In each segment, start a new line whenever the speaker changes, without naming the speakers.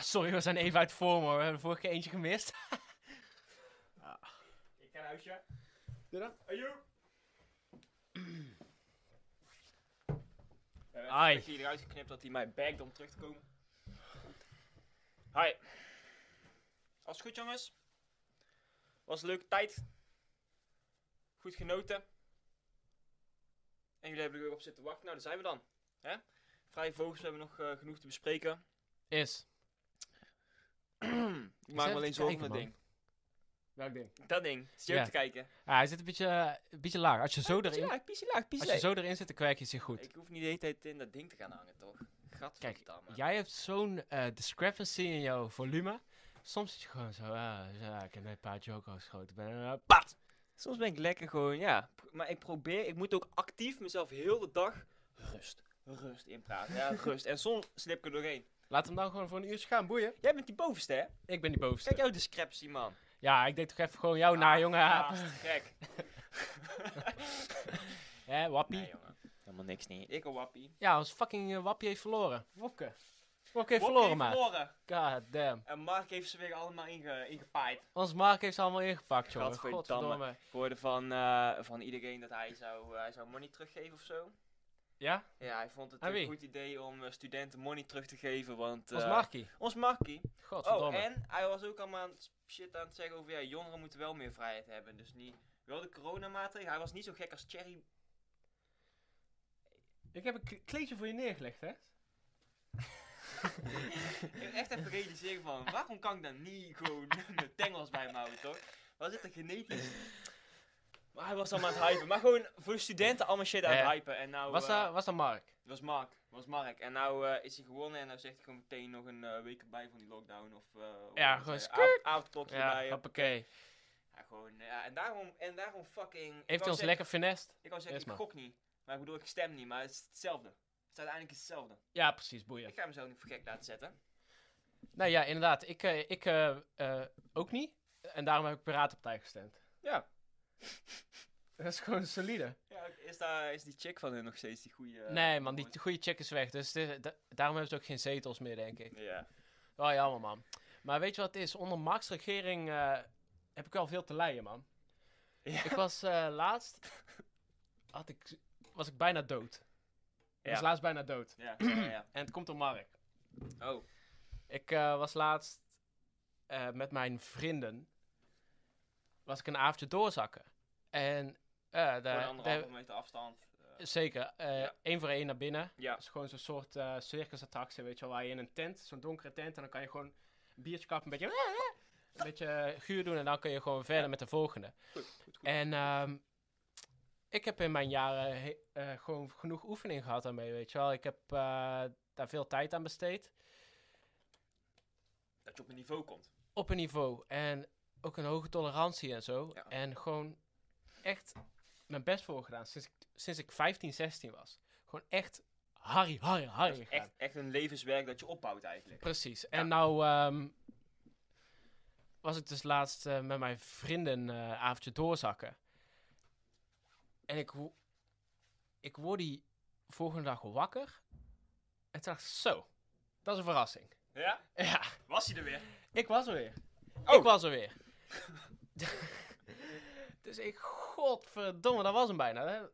sorry, we zijn even uit vorm hoor. We hebben vorige keer eentje gemist. Ik ga naar huisje. Ai.
Ik heb eruit geknipt dat hij mij bagt om terug te komen. Hi. Alles goed jongens? Was een leuke tijd. Goed genoten. En jullie hebben er weer op zitten wachten. Nou, daar zijn we dan. Hè? Vrije vogels we hebben nog eh, genoeg te bespreken.
Is.
Ik maak me
even
alleen
te
zorgen om dat
kijken,
ding.
Welk ding?
Dat ding. Zit je ook
Ja.
te kijken?
Ja, hij zit een beetje, eh, een beetje laag. Als je, zo
Piesie
erin,
laag, piesie laag,
als
piesie
je
laag.
zo erin zit, dan kwijt je zich goed.
Ik hoef niet de hele tijd in dat ding te gaan hangen, toch? Gadverdamme.
Jij hebt zo'n eh, discrepancy in jouw volume. Soms zit je gewoon zo, ah, ja, ik heb net een paar joko's geschoten. Ik ben, eh, pat!
Soms ben ik lekker gewoon, ja. Pro- Maar ik probeer, ik moet ook actief mezelf heel de dag rust, rust inpraten. Ja, rust. En soms slip ik er doorheen.
Laat hem dan gewoon voor een uurtje gaan, boeien.
Jij bent die bovenste, hè?
Ik ben die bovenste.
Kijk jouw discrepancy, man.
Ja, ik deed toch even gewoon jou na, Oh, nou, jongen.
Ah, gek.
Hè, wappie.
Nee, jongen. Helemaal niks niet. Ik een wappie.
Ja, ons fucking eh, wappie heeft verloren. Wopke. Wopke heeft
Wopke
verloren,
heeft
maar.
verloren.
God damn.
En Mark heeft ze weer allemaal inge ingepaaid.
Ons Mark heeft ze allemaal ingepakt, jongen.
Gadverdamme.
Godverdomme.
Ik hoorde van, eh, van iedereen dat hij zou, eh, hij zou money teruggeven of zo.
Ja?
Ja, hij vond het
Aan
een
wie?
goed idee om eh, studenten money terug te geven, want...
Ons
eh,
Markie.
Ons Markie. Oh,
Godverdomme.
en hij was ook allemaal aan het shit aan het zeggen over ja, jongeren moeten wel meer vrijheid hebben. Dus niet wel de coronamaatregelen. Hij was niet zo gek als Cherry.
Ik heb een kle- kleedje voor je neergelegd, hè?
ik heb echt even realiseren van waarom kan ik dan niet gewoon mijn tengels bij me houden, toch? Was het een genetisch? Maar hij was allemaal aan het hypen. Maar gewoon voor de studenten allemaal shit aan
Ja.
het hypen. En nou,
Oh, Was
eh,
dat, was dat Mark?
was Mark. Was Mark. En nou eh, is hij gewonnen en nou zegt hij gewoon meteen nog een eh, week erbij van die lockdown. Of, eh, hoe
Ja,
dat
gewoon
zeggen,
skirt.
avond- avondklokje erbij. Ja,
hoppakee.
gewoon, eh, ja, en, daarom, en daarom fucking... ik
Heeft
wou
hij ons
zeggen-
lekker finest?
Ik wou zeggen,
Yes,
ik
man.
gok niet. Maar ik bedoel, ik stem niet. Maar het is hetzelfde. Het is uiteindelijk hetzelfde.
Ja, precies, boeien.
Ik ga mezelf niet voor gek laten zetten.
Nou ja, inderdaad. Ik, eh, ik eh, eh, ook niet. En daarom heb ik Piratenpartij gestemd.
Ja.
Dat is gewoon solide.
ja is, daar, is die chick van hun nog steeds die goede... eh,
nee, man, die
ooit?
goede check is weg. Dus dit- da- daarom hebben ze ook geen zetels meer, denk ik.
Ja.
Wel jammer, man. Maar weet je wat het is? Onder Marks regering eh, heb ik wel veel te lijden, man.
Ja.
Ik was eh, laatst... Had ik, was ik bijna dood. Ik was
Ja.
laatst bijna dood.
Ja, ja, ja.
En het komt door Mark.
Oh.
Ik eh, was laatst eh, met mijn vrienden... Was ik een avondje doorzakken. En... eh
Voor
daar,
een
daar-
anderhalve meter afstand. eh,
zeker. eh,
Ja.
één voor één naar binnen.
ja.
Dat is gewoon zo'n soort eh, circusattractie, weet je wel, waar je in een tent, zo'n donkere tent, en dan kan je gewoon een biertje kappen, een beetje, een beetje eh, guur doen en dan kun je gewoon verder met de volgende.
Goed, goed, goed.
En ehm, ik heb in mijn jaren he- eh, gewoon genoeg oefening gehad daarmee, weet je wel. Ik heb eh, daar veel tijd aan besteed,
Dat je op een niveau komt.
op een niveau en ook een hoge tolerantie en zo.
Ja.
En gewoon echt mijn best voor gedaan sinds ik, sinds ik 15, 16 was. Gewoon echt Harry, Harry,
Dat
Harry.
is
gegaan.
echt, echt een levenswerk dat je opbouwt eigenlijk.
Precies. En nou ehm, was ik dus laatst eh, met mijn vrienden eh, een avondje doorzakken. En ik, wo- ik word die volgende dag wakker. En toen dacht ik, zo, dat is een verrassing.
Ja?
Ja,
Was hij er weer?
ik was er weer.
Oh.
Ik was er weer. dus ik, godverdomme, dat was hem bijna. Hè? Dat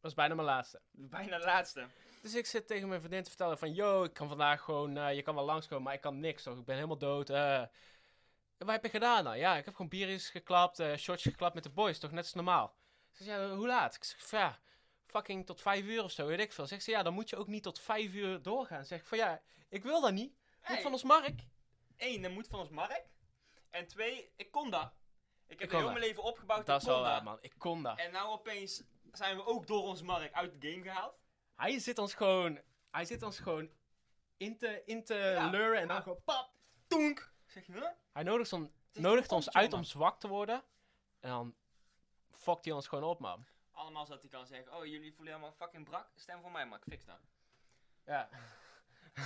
was bijna mijn laatste.
Bijna de laatste.
Dus ik zit tegen mijn vriendin te vertellen van... Yo, ik kan vandaag gewoon... eh, je kan wel langskomen, maar ik kan niks. Toch? Ik ben helemaal dood. eh." wat heb je gedaan dan? Ja, ik heb gewoon biertjes geklapt, eh shotjes geklapt met de boys. Toch net als normaal. Ze zegt, ja, hoe laat? Ik zeg, ja, fucking tot vijf uur of zo, weet ik veel. Zegt ze, ja, dan moet je ook niet tot vijf uur doorgaan. Zeg ik van, ja, ik wil dat niet. Niet
Hey.
van ons Mark.
Eén, dat moet van ons Mark. En twee, ik kon dat. Ik heb
kon
heel
dat.
mijn leven opgebouwd,
Dat
ik
is
kon
wel
dat.
waar, man. Ik kon dat.
En nou opeens zijn we ook door ons Mark uit de game gehaald.
Hij zit ons gewoon... Hij zit ons gewoon in te, in te
Ja.
leuren en dan
Ja.
gewoon pap, toenk.
Zeg je, huh?
Hij nodigt, on-
is
nodigt
goed,
ons uit
jongen.
om zwak te worden. En dan fokt hij ons gewoon op, man.
Allemaal zodat hij kan zeggen, oh jullie voelen helemaal fucking brak, stem voor mij maar, ik fix dat.
Ja.
Je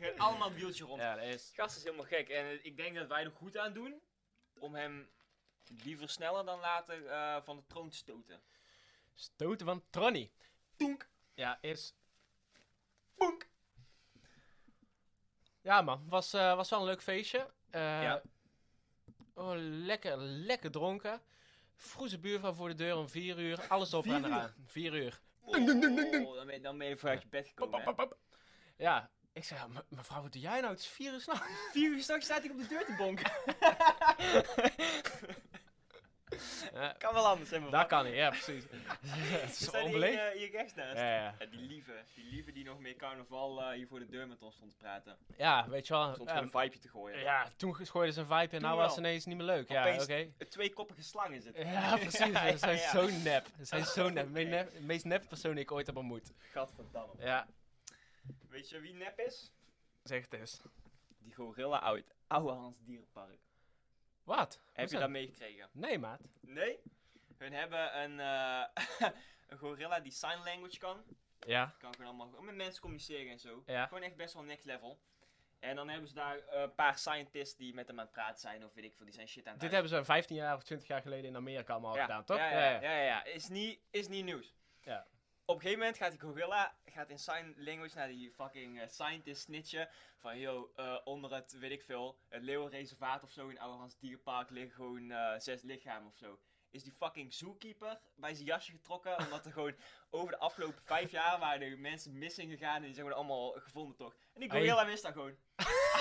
gaat allemaal het wieltje rond.
ja, dat is.
Die gast is helemaal gek en eh, ik denk dat wij er goed aan doen om hem liever sneller dan later eh, van de troon te stoten.
Stoten van Tronny.
Toenk,
Ja, eerst.
boenk.
Ja, man. Was, eh, was wel een leuk feestje. Eh,
Ja.
oh, lekker, lekker dronken. Vroeg zijn buurvrouw voor de deur om vier uur. Alles op
Vier
en
uur?
eraan. Vier uur.
Oh,
Ding, ding, ding, ding, ding.
dan, ben je, dan ben je voor uit je bed
Pop,
gekomen.
pop,
hè.
pop, pop. Ja. Ik zei, "Me- mevrouw, wat doe jij nou? Het is vier uur s'nachts.
Vier uur straks staat ik op de deur te bonken.
Ja,
kan wel anders, hè, mevrouw.
dat kan niet, ja, precies. het
We
is
staan hier,
onbeleefd.
eh, hier rechts naast.
Ja, ja.
Ja, die lieve, die lieve die nog meer carnaval eh, hier voor de deur met ons stond te praten.
ja, weet je wel.
Stond gewoon
ehm,
een vibeje te gooien.
ja, toen ge- gooiden ze een vibe en
Toen
nou was het
wel.
ineens niet meer leuk. Ja, oké.
Opeens- Twee koppige slangen zitten.
Ja, precies.
Ja,
Ze zijn
ja, ja.
zo nep. Ze zijn zo nep. De meest
Oké.
nep- meest nep persoon die ik ooit heb ontmoet.
Gadverdamme.
Ja,
Weet je wie nep is?
zeg het eens.
Die gorilla uit Oude Hans Dierenpark.
Wat?
Heb je
Hoezo?
dat meegekregen?
Nee, maat.
Nee? Hun hebben een, eh, een gorilla die sign language kan.
Ja.
Kan gewoon allemaal met mensen communiceren en zo.
Ja.
Gewoon echt best wel next level. En dan hebben ze daar eh, een paar scientists die met hem aan het praten zijn of weet ik veel. Die zijn shit aan het
Dit
uit-
hebben ze 15 jaar of 20 jaar geleden in Amerika allemaal
ja.
gedaan, toch?
Ja, ja, ja. ja, ja. Is, niet, is niet nieuws.
Ja.
Op een gegeven moment gaat die gorilla gaat in sign language naar die fucking eh, scientist snitchen. Van, yo, eh, onder het, weet ik veel, het leeuwenreservaat of zo in Ouderhans Dierpark liggen gewoon eh, zes lichamen of zo. Is die fucking zookeeper bij zijn jasje getrokken, omdat er gewoon over de afgelopen vijf jaar waren er mensen missing gegaan en die zijn gewoon allemaal gevonden, toch? En die
Hey.
gorilla mist daar gewoon.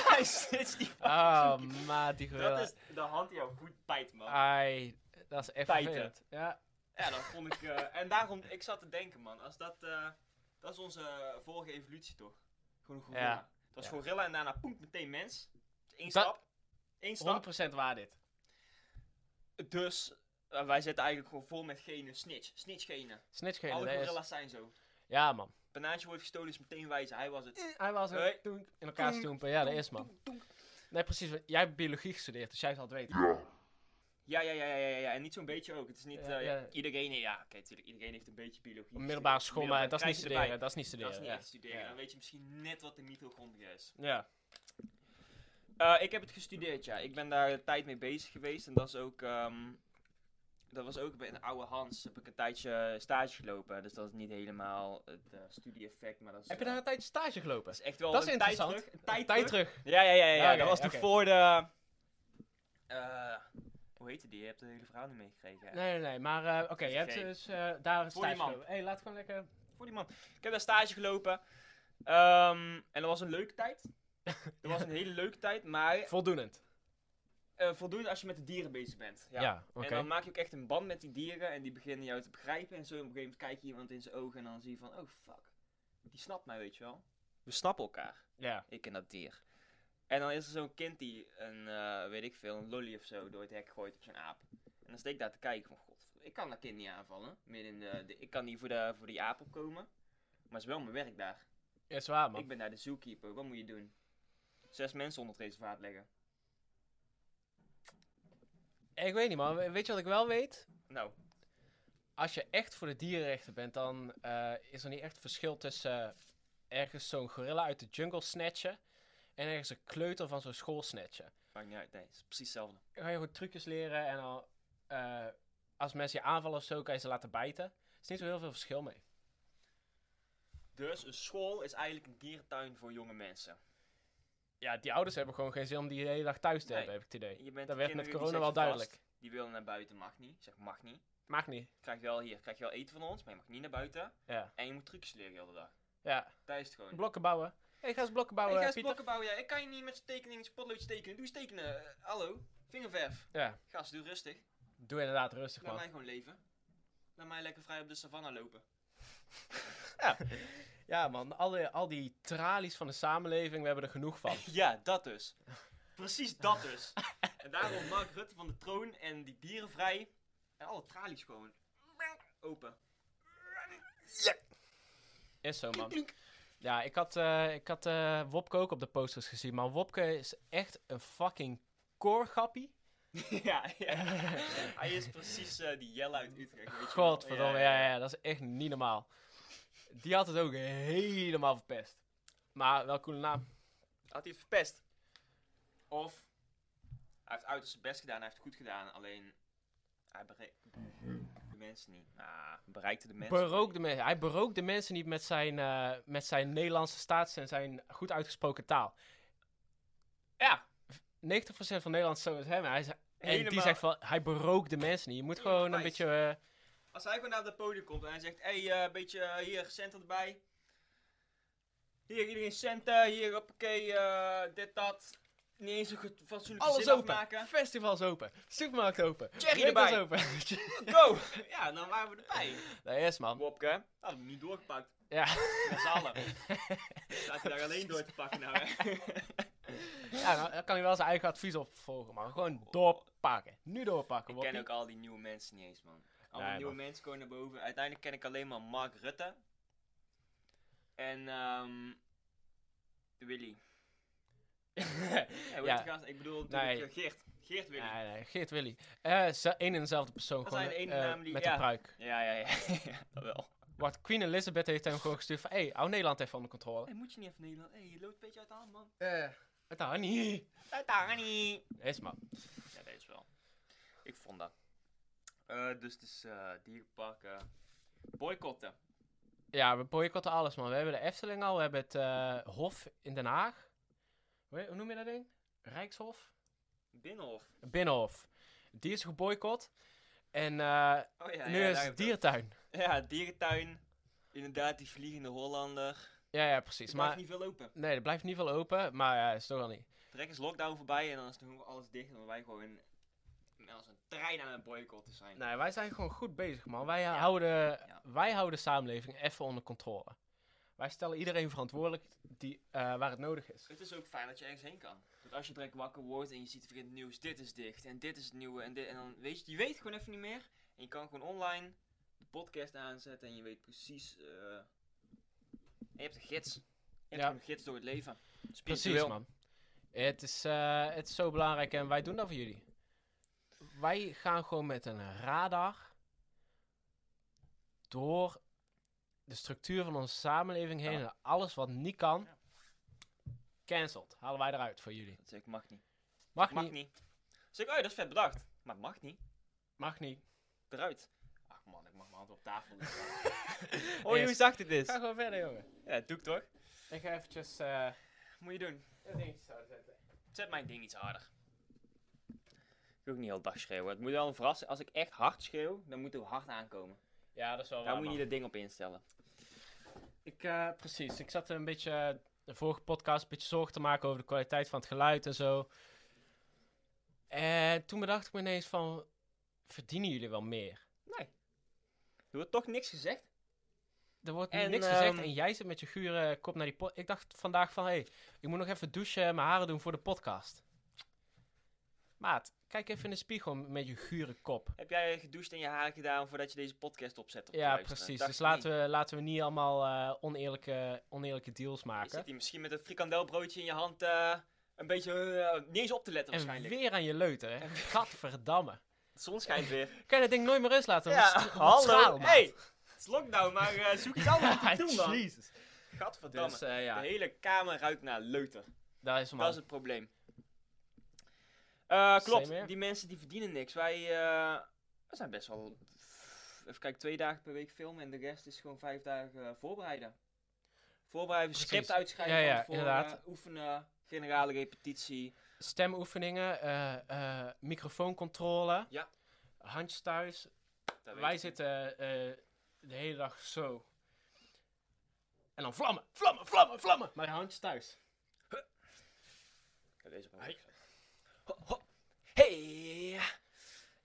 Hij snitcht die fucking zookeeper.
Oh, maat, die gorilla.
Dat is de hand die jouw voet bijt, man.
Ai, dat is echt
Feiten.
vervelend. Ja.
Ja, dat vond ik. eh, en daarom, ik zat te denken, man. Als dat, eh, dat is onze vorige evolutie toch? Gewoon een gorilla.
Ja.
Dat was
Ja.
gorilla en daarna poem meteen mens. Eén
Dat-
stap. Eén stap.
100% waar dit.
Dus eh, wij zitten eigenlijk gewoon vol met genen. Snitch. Snitch genen.
Snitchgene,
Alle
dat
gorilla's
is...
zijn zo.
Ja, man.
Banaantje wordt gestolen is meteen wijzen. Hij was het.
Hij was
Hey.
er toen in elkaar
Toen,
stoempen. Ja, dat is man.
Toenk, toenk.
Nee, precies. want Jij hebt biologie gestudeerd, dus jij zal het weten.
Ja, ja, ja, ja, ja, ja. En niet zo'n beetje ook. Het is niet
Ja,
eh, ja,
ja.
iedereen. Ja, oké, natuurlijk. Iedereen heeft een beetje biologie.
Middelbare
gestudeerd.
school, maar dat is niet
krijg je erbij.
studeren. Dat is niet
Dat is
studeren.
niet
ja.
echt studeren.
Ja.
Dan weet je misschien net wat de mitochondria is.
Ja.
Eh, ik heb het gestudeerd, ja. Ik ben daar een tijd mee bezig geweest. En dat is ook. ehm, dat was ook bij een oude Hans. Heb ik een tijdje stage gelopen. Dus dat is niet helemaal het eh, studie-effect. Maar dat is,
Heb je
eh,
daar een tijdje stage gelopen?
dat is echt wel
Dat is
een tijd
interessant.
terug. Een tijd,
Tijd
terug.
terug.
Ja, ja, ja, ja.
Ja, oké,
dat was nog
oké.
voor de. eh, hoe heette die? Je hebt de hele verhaal niet meegekregen. hè?
Nee, nee, nee. Maar eh, oké, je hebt
Geen.
dus eh, daar een
Voor die
stage
man.
gelopen. hey, laat gewoon lekker...
Voor die man. Ik heb daar stage gelopen. Ehm, en dat was een leuke tijd. Dat was een hele leuke tijd. Maar
Voldoenend.
eh, voldoende als je met de dieren bezig bent.
Ja, oké.
En dan maak je ook echt een band met die dieren en die beginnen jou te begrijpen. En zo op een gegeven moment kijk je iemand in zijn ogen en dan zie je van, oh fuck, die snapt mij, weet je wel. We snappen elkaar,
Ja.
ik en dat dier. En dan is er zo'n kind die een, eh, weet ik veel, een lolly of zo door het hek gooit op zo'n aap. En dan steek ik daar te kijken van, god, ik kan dat kind niet aanvallen. Midden in de, de- ik kan niet voor, de, voor die aap opkomen. Maar het is wel mijn werk daar.
Is waar,
Ik
man.
ben daar de zookeeper, wat moet je doen? Zes mensen onder het reservaat leggen.
Eh, Ik weet niet, man. We- Weet je wat ik wel weet?
Nou,
Als je echt voor de dierenrechten bent, dan eh, is er niet echt verschil tussen eh, ergens zo'n gorilla uit de jungle snatchen en ergens een kleuter van zo'n school snatchen.
maakt niet uit, nee, het is precies hetzelfde.
Dan ga je gewoon trucjes leren en dan, eh, als mensen je aanvallen of zo, kan je ze laten bijten. Er is niet zo heel veel verschil mee.
Dus een school is eigenlijk een dierentuin voor jonge mensen.
Ja, die ouders hebben gewoon geen zin om die de hele dag thuis te
Nee.
hebben, heb ik het idee.
Je bent
Dat
de
werd met
kinderen, die
corona
zet
wel
je vast.
duidelijk.
Die willen naar buiten, mag niet. Ik zeg mag niet.
Maakt niet.
Krijg je wel hier, krijg je wel eten van ons, maar je mag niet naar buiten.
Ja.
En je moet trucjes leren de hele dag.
Ja.
Daar is het gewoon.
Blokken bouwen. hey, ga eens blokken
Ik
bouwen,
ga eens
Pieter.
blokken bouwen, ja. Ik kan je niet met z'n tekening, z'n potloodjes tekenen. Doe eens tekenen. Eh, hallo. Vingerverf.
Ja.
Gast, doe rustig.
Doe inderdaad rustig,
Laat
man.
mij gewoon leven. Laat mij lekker vrij op de savanne lopen.
Ja, man. Alle, al die tralies van de samenleving, we hebben er genoeg van.
Ja, dat dus. Precies dat dus. en daarom Mark Rutte van de troon en die dieren vrij. En alle tralies gewoon open.
Is zo, man. Ja, ik had, eh, ik had eh, Wopke ook op de posters gezien. Maar Wopke is echt een fucking koorgappie.
ja, ja. Hij is precies eh, die Jelle uit Utrecht. Weet je wel.
Godverdomme, ja, ja, dat is echt niet normaal. Die had het ook helemaal verpest. Maar wel een coole naam.
Had hij het verpest? Of hij heeft uiterst zijn best gedaan, hij heeft het goed gedaan, alleen hij bereikte de mensen niet. Ah, bereikte de mensen.
Berookte mensen. Hij berookt de mensen niet met zijn, eh, met zijn Nederlandse staats en zijn goed uitgesproken taal.
Ja,
90% van Nederland zou het hebben. Hij, ze- en die
Helemaal.
zegt van, hij berookt de mensen niet. Je moet
Helemaal
gewoon een
nice.
beetje... eh,
als hij gewoon naar het podium komt en hij zegt, hé, hey, eh, een beetje eh, hier, centen erbij. Hier, iedereen centen, hier, hoppakee, eh, dit, dat. Niet eens een goed- fatsoenlijke
alles
zin
open.
afmaken.
Festivals open. Supermarkt open.
Cherry
winkels
erbij.
open.
Go! Ja, dan waren we erbij.
nee, yes man.
Wopke, nou, dat heb ik niet doorgepakt.
Ja.
Met z'n allen. Staat hij daar alleen door te pakken nou, hè?
ja, nou, dan kan hij wel zijn eigen advies opvolgen. Maar gewoon doorpakken. Nu doorpakken.
Ik ken
Woppie.
ook al die nieuwe mensen niet eens, man. Al die
Nee,
nieuwe
man.
mensen komen naar boven. Uiteindelijk ken ik alleen maar Mark Rutte. En, ehm... Willy. ja,
Ja.
ja. Gast? Ik bedoel,
Nee.
natuurlijk eh, Geert. Geert Willy.
Nee, nee, Geert Willy. Eh, ze- één en dezelfde persoon.
Dat
gewoon,
zijn de ene
eh,
namen die-
met
ja.
een pruik.
Ja, ja, ja. ja dat wel.
Wat Queen Elizabeth heeft hem gewoon gestuurd van... Hé, hey, hou Nederland even onder controle.
Hey, moet je niet even Nederland? hey, je loopt een beetje uit de hand, man.
Het daar niet.
Uit de hand, niet.
Yes man.
Ja, dat is wel. Ik vond dat. Eh, dus het is eh, dierenparken. Boycotten.
Ja, we boycotten alles man. We hebben de Efteling al. We hebben het eh, Hof in Den Haag. Hoe, hoe noem je dat ding? Rijkshof?
Binnenhof.
Binnenhof. Die is geboycott. En eh,
Oh ja,
nu
ja,
is het
daar heb ik
diertuin.
ook. Ja, dierentuin. Inderdaad, die vliegende Hollander.
Ja, ja, precies.
Er maar...
Maar
niet veel open.
nee, er blijft in ieder geval open. Maar ja, is toch wel niet.
Trek is lockdown voorbij en dan is nog alles dicht. En dan wij gewoon als een trein aan het boycotten zijn.
Nee, wij zijn gewoon goed bezig man. Wij, eh, houden,
Ja.
wij houden de samenleving even onder controle. Wij stellen iedereen verantwoordelijk die, eh, waar het nodig is.
Het is ook fijn dat je ergens heen kan. Dat als je direct wakker wordt en je ziet weer in het nieuws, dit is dicht en dit is het nieuwe en dit. En dan weet je, je weet gewoon even niet meer. En je kan gewoon online de podcast aanzetten en je weet precies. eh, en je hebt een gids. Je hebt
Ja.
gewoon een gids door het leven.
Precies, man. Het is, eh, het is zo belangrijk en wij doen dat voor jullie. Wij gaan gewoon met een radar door de structuur van onze samenleving heen
Ja.
en alles wat niet kan.
Ja.
Cancelled. Halen wij eruit voor jullie.
Dat zeg ik, mag niet.
Mag,
Mag
niet,
niet. Dan zeg ik, oh, dat is vet bedacht. Maar het mag niet.
Mag niet.
Eruit. Ach man, ik mag mijn hand op tafel. doen.
Oh,
oh,
hoe
hoe zacht het is.
Ga gewoon verder, jongen.
Ja, doe ik toch?
Ik ga eventjes eh
Moet je doen.
een dingetje zouden zetten.
Zet mijn ding iets harder. Ik wil ook niet heel dag schreeuwen. Het moet wel een verrassing. Als ik echt hard schreeuw, dan moet het hard aankomen.
Ja, dat is wel
Daar
waar,
moet je
man.
niet dat ding op instellen.
Ik, eh, precies. Ik zat een beetje eh, de vorige podcast een beetje zorgen te maken over de kwaliteit van het geluid en zo. En toen bedacht ik me ineens van, verdienen jullie wel meer?
Nee. Er wordt toch niks gezegd?
Er wordt
En,
niks gezegd
ehm,
en jij zit met je gure kop naar die podcast. Ik dacht vandaag van, hé, hey, ik moet nog even douchen en mijn haren doen voor de podcast. Maat, kijk even in de spiegel met je gure kop.
Heb jij gedoucht en je haren gedaan voordat je deze podcast opzet? Op
Ja, precies.
nou,
Dus laten we, laten we niet allemaal eh, oneerlijke, oneerlijke deals
Je zit
maken.
hier misschien met een frikandelbroodje in je hand eh, een beetje eh, niet eens op te letten
En
waarschijnlijk.
weer aan je leuter, hè? Gadverdamme.
De zon schijnt weer.
Kan je dat ding nooit meer rust laten?
ja,
Want het is- het is schaal,
hallo.
maat.
Hey, het is lockdown, maar eh, zoek iets anders te doen dan.
Jezus.
Gadverdamme.
Dus eh,
De
ja,
hele kamer ruikt naar leuter.
daar is hem
Dat is
al.
het probleem. Eh, klopt,
Same here.
die mensen die verdienen niks. Wij eh, we zijn best wel. Even kijken, twee dagen per week filmen en de rest is gewoon vijf dagen eh, voorbereiden. Voorbereiden,
Precies.
script uitschrijven,
Ja, ja,
van tevoren,
inderdaad.
eh, oefenen, generale repetitie.
Stemoefeningen, eh, eh, microfooncontrole,
Ja.
handjes thuis.
Dat weet
Wij
ik
zitten eh, de hele dag zo. En dan vlammen, vlammen, vlammen, vlammen. Maar handjes thuis.
niet. Ja, deze
Hey.
Ho, ho. Hey!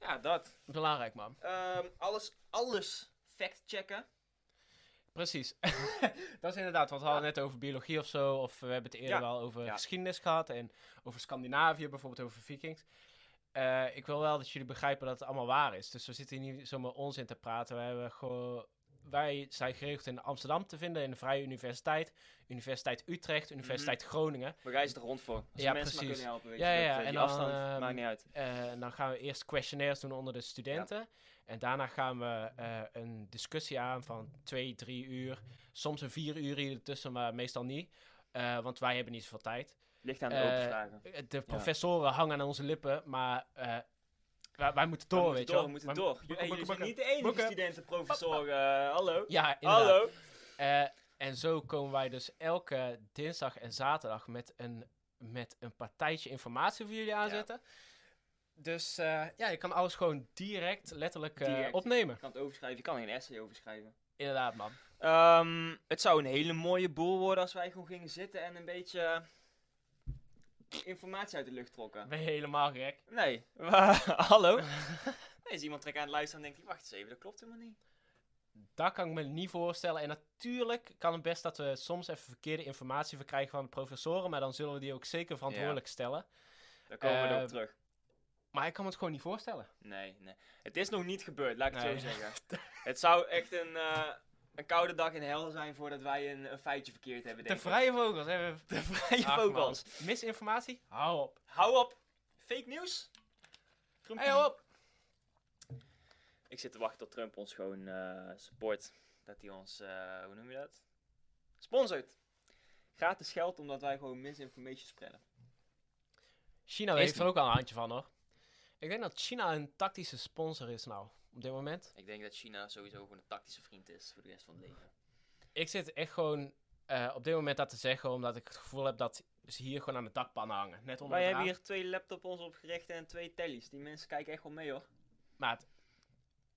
Ja, dat.
Belangrijk, man.
Ehm, alles, alles fact checken.
Precies. dat is inderdaad, want we hadden net over biologie of zo. Of we hebben het eerder
Ja.
wel over
Ja.
geschiedenis gehad. En over Scandinavië, bijvoorbeeld over vikings. Eh, ik wil wel dat jullie begrijpen dat het allemaal waar is. Dus we zitten hier niet zomaar onzin te praten. We hebben gewoon... Wij zijn geregeld in Amsterdam te vinden, in de Vrije Universiteit. Universiteit
Mhm.
Utrecht, Universiteit Groningen.
We reizen er rond voor. Als we
Ja,
mensen
precies.
maar kunnen helpen, weet
Ja,
je.
ja,
dat, eh,
en
die
dan,
afstand
ehm,
maakt niet uit.
Eh, en dan gaan we eerst questionnaires doen onder de studenten. En daarna gaan we eh, een discussie aan van twee, drie uur. Soms een vier uur hier ertussen, maar meestal niet. Eh, want wij hebben niet zoveel tijd.
Ligt aan de
Eh,
open vragen.
De professoren hangen aan onze lippen, maar eh, wij, wij moeten door,
we
weet
moeten
je
door,
wel.
we moeten
Wij
door.
mo-
Jullie- hey, jullie
boeken,
zijn
boeken,
niet de enige
Boeken.
studenten, professor. eh, hallo.
boeken. Ja, inderdaad.
Hallo.
Eh, en zo komen wij dus elke dinsdag en zaterdag met een met een partijtje informatie voor jullie aanzetten. Dus eh, ja, je kan alles gewoon direct, letterlijk eh,
Direct.
opnemen.
Je kan het overschrijven, je kan er een essay overschrijven.
Inderdaad, man.
Ehm, het zou een hele mooie boel worden als wij gewoon gingen zitten en een beetje eh, informatie uit de lucht trokken.
Ben je helemaal gek?
Nee, wa- hallo? Nee, is iemand trek aan het luisteren en denkt, wacht eens even, dat klopt helemaal niet.
Dat kan ik me niet voorstellen. En natuurlijk kan het best dat we soms even verkeerde informatie verkrijgen van de professoren. Maar dan zullen we die ook zeker verantwoordelijk stellen.
Daar komen we
Eh,
op terug.
Maar ik kan me het gewoon niet voorstellen.
Nee, nee. Het is nog niet gebeurd, laat ik het
Nee.
zo zeggen. het zou echt een, eh, een koude dag in hel zijn voordat wij een, een feitje verkeerd hebben,
De
denk ik.
vrije vogels hebben.
De vrije
Ach, man.
vogels.
Misinformatie? Hou op.
Hou op. Fake nieuws. Trump-
Hey, hou op.
Ik zit te wachten tot Trump ons gewoon eh, support. Dat hij ons, eh, hoe noem je dat? Sponsort. Gratis geld omdat wij gewoon misinformation spreiden.
China
Is
heeft er
niet.
ook al een handje van hoor. Ik denk dat China een tactische sponsor is nou, op dit moment.
Ik denk dat China sowieso gewoon een tactische vriend is voor de rest van het leven.
Ik zit echt gewoon eh, op dit moment dat te zeggen, omdat ik het gevoel heb dat ze hier gewoon aan de dakpan hangen. Net onder
Wij
het
hebben
raam.
hier twee laptops ons opgericht en twee tellies. Die mensen kijken echt wel mee hoor.
Maat,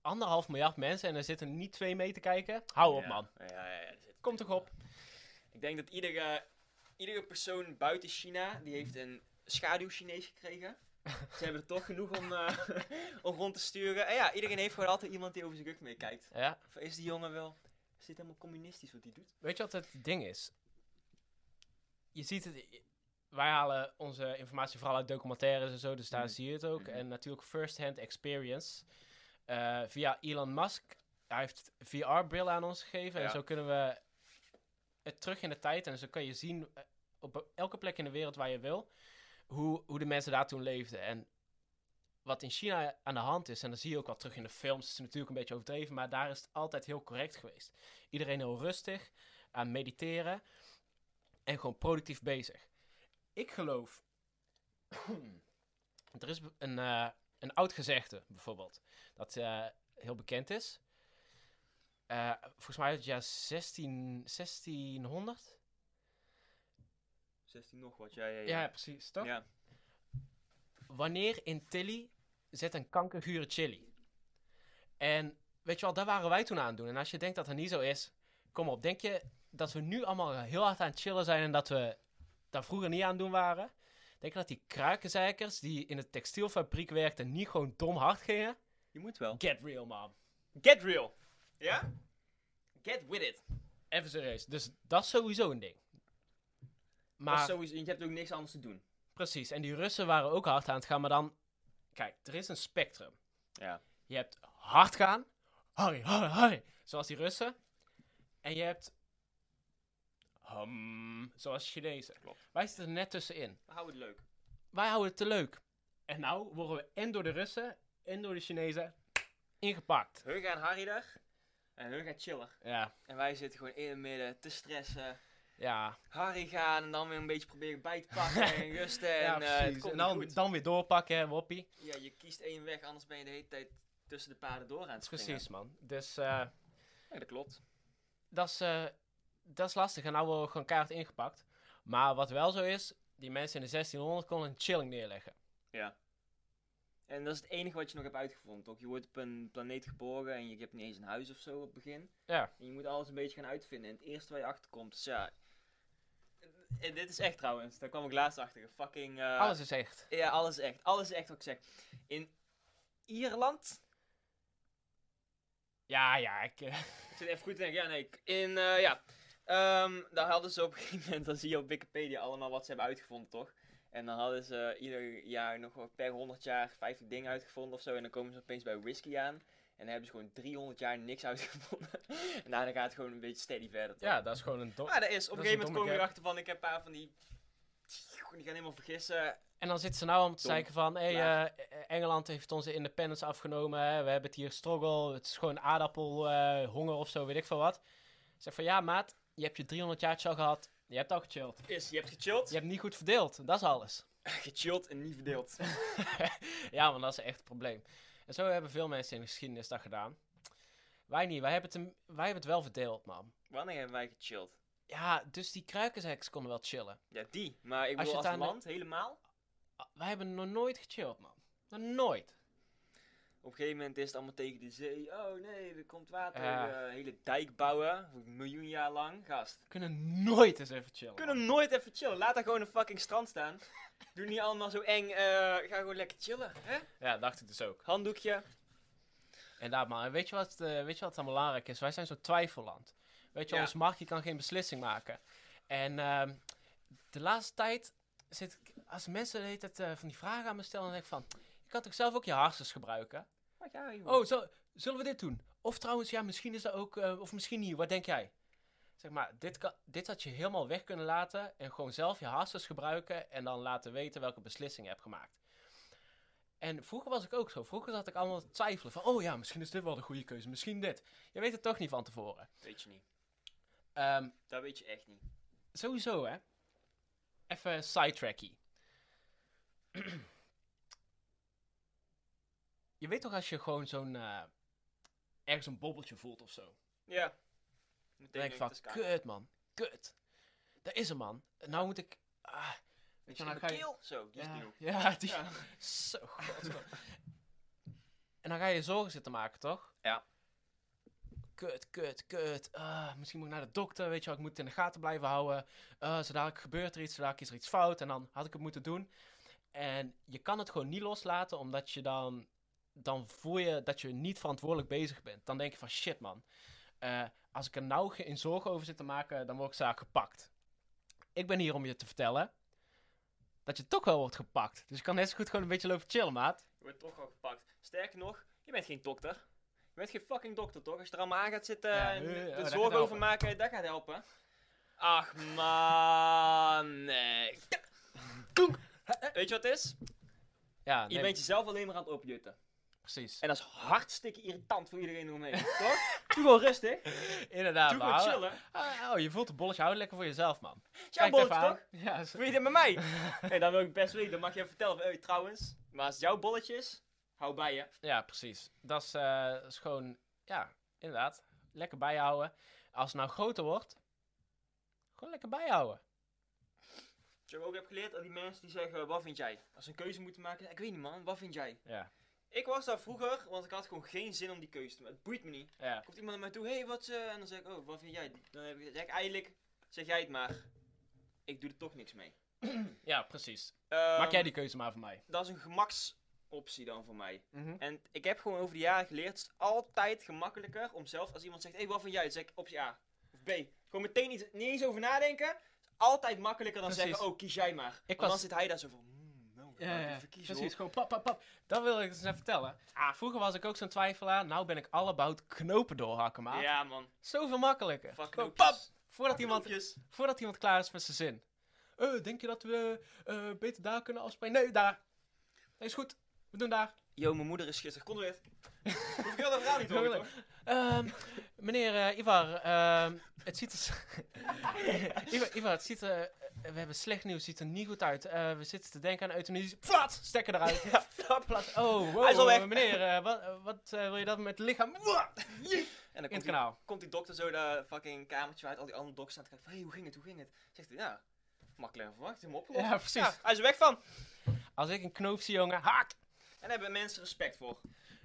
anderhalf miljard mensen en er zitten niet twee mee te kijken. Hou op
Ja.
man,
Ja, ja, ja, er zit-
kom toch op.
Ik denk dat iedere, iedere persoon buiten China, die heeft een schaduw-Chinees gekregen. Ze hebben er toch genoeg om, eh, om rond te sturen. En ja, iedereen heeft gewoon altijd iemand die over zijn rug meekijkt.
Ja.
Of is die jongen wel... Zit helemaal communistisch wat hij doet?
Weet je wat het ding is? Je ziet het. Wij halen onze informatie vooral uit documentaires en zo, dus daar
Mhm.
zie je het ook.
Mhm.
En natuurlijk first-hand experience. Eh, via Elon Musk. Hij heeft VR-bril aan ons gegeven. En
Ja.
zo kunnen we het terug in de tijd. En zo kan je zien eh, op elke plek in de wereld waar je wil. Hoe, hoe de mensen daar toen leefden. En wat in China aan de hand is. En dat zie je ook wel terug in de films. Het is natuurlijk een beetje overdreven. Maar daar is het altijd heel correct geweest. Iedereen heel rustig aan mediteren en gewoon productief bezig. Ik geloof. er is be- een, eh, een oud gezegde bijvoorbeeld, dat eh, heel bekend is. Eh, volgens mij uit het jaar 16, 1600.
16 nog wat, ja, ja,
Ja,
ja.
precies, toch?
Ja.
Wanneer in Tilly zit een kankergure chili. En weet je wel, daar waren wij toen aan het doen. En als je denkt dat dat niet zo is, kom op. Denk je dat we nu allemaal heel hard aan het chillen zijn en dat we daar vroeger niet aan het doen waren? Denk je dat die kruikenzeikers die in de textielfabriek werkten niet gewoon dom hard gingen?
Je moet wel.
Get real, man.
Get real. Ja? Get with it.
Even serieus. Dus dat is sowieso een ding.
Maar
Maar
sowieso, je hebt ook niks anders te doen.
precies. En die Russen waren ook hard aan het gaan. Maar dan, kijk, er is een spectrum.
Ja.
Je hebt hard gaan. Harry, Harry, Harry. Zoals die Russen. En je hebt... Hum, zoals Chinezen.
Klopt.
Wij zitten er net tussenin.
Maar hou het leuk.
Wij houden het te leuk. En nou worden we en door de Russen en door de Chinezen ingepakt.
Hun gaan Harry daar. En hun gaan chiller.
Ja,
En wij zitten gewoon in het midden te stressen.
ja.
Harry gaan en dan weer een beetje proberen bij te pakken en rusten. En,
ja,
eh, het
precies.
komt
en
niet
dan,
goed.
dan weer doorpakken, hè, woppie.
Ja, je kiest één weg, anders ben je de hele tijd tussen de paden door aan het springen.
Precies, man. Dus... eh,
Ja, dat klopt.
dat is, eh, dat is lastig. En nou worden we gewoon kaart ingepakt. Maar wat wel zo is, die mensen in de 1600 konden een chilling neerleggen.
En dat is het enige wat je nog hebt uitgevonden, toch? Je wordt op een planeet geboren en je hebt niet eens een huis of zo op het begin.
Ja.
En je moet alles een beetje gaan uitvinden. En het eerste waar je achter komt, is ja... En dit is echt trouwens, daar kwam ik laatst achter. Een Fucking... eh,
Alles is echt.
Ja, alles is echt. Alles is echt wat ik zeg. In Ierland...
Ja, ja, ik... eh,
Ik zit even goed te denken. Ja, nee. ik- In, eh, ja. Ehm, daar hadden ze op een gegeven moment, dan zie je op Wikipedia allemaal wat ze hebben uitgevonden, toch? En dan hadden ze eh, ieder jaar nog wel per 100 jaar 50 dingen uitgevonden of zo. En dan komen ze opeens bij whisky aan. En dan hebben ze gewoon 300 jaar niks uitgevonden. en daarna gaat het gewoon een beetje steady verder. toch?
ja, dat is gewoon een dom.
Maar dat is, op een
dat is een
gegeven moment
domme
kom je
gap.
erachter van, ik heb een paar van die... Die gaan helemaal vergissen.
En dan zitten ze nou om te
Dom.
zeiken van... Hey,
Klaar.
eh, eh, Engeland heeft onze independence afgenomen. hè, We hebben het hier struggle. Het is gewoon aardappel, eh, honger of zo, weet ik veel wat. Ik zeg van, ja maat, je hebt je 300 jaar chill gehad. Je hebt al gechilled.
Is, je hebt gechilled.
Je hebt niet goed verdeeld. Dat is alles.
Gechilled en niet verdeeld.
ja, want dat is echt het probleem. En zo hebben veel mensen in de geschiedenis dat gedaan. Wij niet. Wij hebben het, een- wij hebben het wel verdeeld, man.
Wanneer hebben wij gechilled?
Ja, dus die kruikensheks konden wel chillen.
Ja, die. Maar ik
Als
bedoel,
je
als,
het aan de-
land helemaal.
Ah, Wij hebben nog nooit gechilled, man. Nog nooit.
Op een gegeven moment is het allemaal tegen de zee. Oh nee, er komt water.
Ja. Oh,
Eh, hele dijk bouwen. Een miljoen jaar lang. Gast.
We kunnen nooit eens even chillen.
We kunnen nooit even chillen. Laat daar gewoon een fucking strand staan. Doe niet allemaal zo eng. eh, ga gewoon lekker chillen. Hè?
man. Ja, dacht ik dus ook.
Handdoekje.
Inderdaad, maar weet je wat, eh, weet je wat dan belangrijk is? Wij zijn zo'n twijfelland. Weet je,
Ja.
ons marktje kan geen beslissing maken. En ehm, de laatste tijd zit ik, als mensen de hele tijd eh, van die vragen aan me stellen, dan denk ik van, je kan toch zelf ook je hersens gebruiken?
Wat ja, joh.
Oh, zo- zullen we dit doen? Of trouwens, ja, misschien is dat ook, eh, of misschien niet, wat denk jij? Zeg maar, dit, kan, dit had je helemaal weg kunnen laten en gewoon zelf je hersens gebruiken en dan laten weten welke beslissing je hebt gemaakt. En vroeger was ik ook zo. Vroeger zat ik allemaal te twijfelen van, oh ja, misschien is dit wel de goede keuze, misschien dit. Je weet het toch niet van tevoren.
Weet je niet.
Ehm,
Dat weet je echt niet.
sowieso, hè. Even sidetrackie. je weet toch als je gewoon zo'n, eh, ergens een bobbeltje voelt of zo.
Ja.
Dan denk ik
Meteen denk ik,
van,
het is koud.
kut man, kut. Daar is een man. Nou moet ik... Ah,
Weet
je,
je,
dan
mijn
ga je-
keel? Zo, die is
ja,
nieuw.
ja, die...
Ja.
Zo, godverdomme. En dan ga je zorgen zitten maken, toch?
Ja.
Kut, kut, kut. Ah, misschien moet ik naar de dokter, weet je wel. Ik moet het in de gaten blijven houden. Ah, zo dadelijk gebeurt er iets, zo dadelijk is er iets fout. En dan had ik het moeten doen. En je kan het gewoon niet loslaten, omdat je dan... Dan voel je dat je niet verantwoordelijk bezig bent. Dan denk je van, shit man. eh, als ik er nou ge- in zorgen over zit te maken, dan word ik zaak gepakt. Ik ben hier om je te vertellen dat je toch wel wordt gepakt. Dus je kan net zo goed gewoon een beetje lopen chillen, maat.
Je wordt toch al gepakt. Sterker nog, je bent geen dokter. Je bent geen fucking dokter, toch? Als je er allemaal aan gaat zitten
Ja,
en
eh, oh, dat
er
gaat
zorgen over
helpen.
maken, dat gaat helpen. Ach man, nee. Koek. Weet je wat het is?
Ja,
Je bent jezelf alleen maar aan het opjutten.
precies.
En dat is hartstikke irritant voor iedereen eromheen, toch? Doe gewoon rustig.
Inderdaad,
Doe
maar-
gewoon chillen.
Ah, oh, je voelt het bolletje houden lekker voor jezelf, man.
Jouw
Kijk het
bolletje, toch?
even aan. Ja,
Wil je dit met mij? Nee, dan wil ik best weten. Dan mag je even vertellen. Hey, trouwens, maar als het jouw bolletje is, hou bij je.
Ja, precies. Dat is, eh, is gewoon, ja, inderdaad. Lekker bijhouden. Als het nou groter wordt, gewoon lekker bijhouden.
Wat ik ook heb geleerd aan die mensen die zeggen, wat vind jij? Als ze een keuze moeten maken, ik weet niet man, wat vind jij?
Ja.
Ik was daar vroeger, want ik had gewoon geen zin om die keuze te maken. Het boeit me niet.
Ja,
Komt iemand naar mij toe, hé, hey, wat eh, En dan zeg ik, oh, wat vind jij? Dan heb ik, zeg ik eigenlijk, zeg jij het maar. Ik doe er toch niks mee.
ja precies.
Ehm,
Maak jij die keuze maar voor mij.
Dat is een gemaksoptie dan voor mij. En ik heb gewoon over de jaren geleerd, het is altijd gemakkelijker om zelf, als iemand zegt, hé, hey, wat vind jij? Dan zeg ik optie A of B. Gewoon meteen niet, niet eens over nadenken. Het is altijd makkelijker dan
Precies.
zeggen, oh, kies jij maar. Want
was-
dan zit hij daar zo van, "Hmm, nou, ga ik even kiezen,
precies. Gewoon pap, pap, pap. Dat wil ik eens even vertellen. Ah, vroeger was ik ook zo'n twijfelaar. Nou ben ik all about knopen doorhakken,
hoor."
maat.
Ja, man.
Zoveel makkelijker.
Fuck
Gewoon
knoopjes.
pap, voordat iemand
Knoopjes.
Voordat iemand klaar is met zijn zin. Eh, denk je dat we eh, beter daar kunnen afspreken? Nee, daar. Nee, is goed. We doen daar.
Yo, mijn moeder is gisteren. Kom er weer. Hoef ik heel dat verhaal niet te horen, toch?
Ehm, meneer eh, Ivar, ehm, het ziet er... s- Ivar, Ivar, het ziet er... eh, We hebben slecht nieuws, het ziet er niet goed uit. Eh, we zitten te denken aan euthanasie. Plat! Stekker eruit. Plat. Oh, wow,
Hij is al weg.
meneer, eh, wat, eh, wat eh, wil je dat met het lichaam?
En dan
In het
komt die,
kanaal.
komt die dokter zo dat fucking kamertje uit. Al die andere dokters staan te kijken van, hé, hey, hoe ging het, hoe ging het? Zegt hij, ja, makkelijker dan verwacht. Helemaal opgelost.
Ja, precies.
Ja, hij is er weg van.
Als ik een knoop zie, jongen, haak!
En daar hebben mensen respect voor.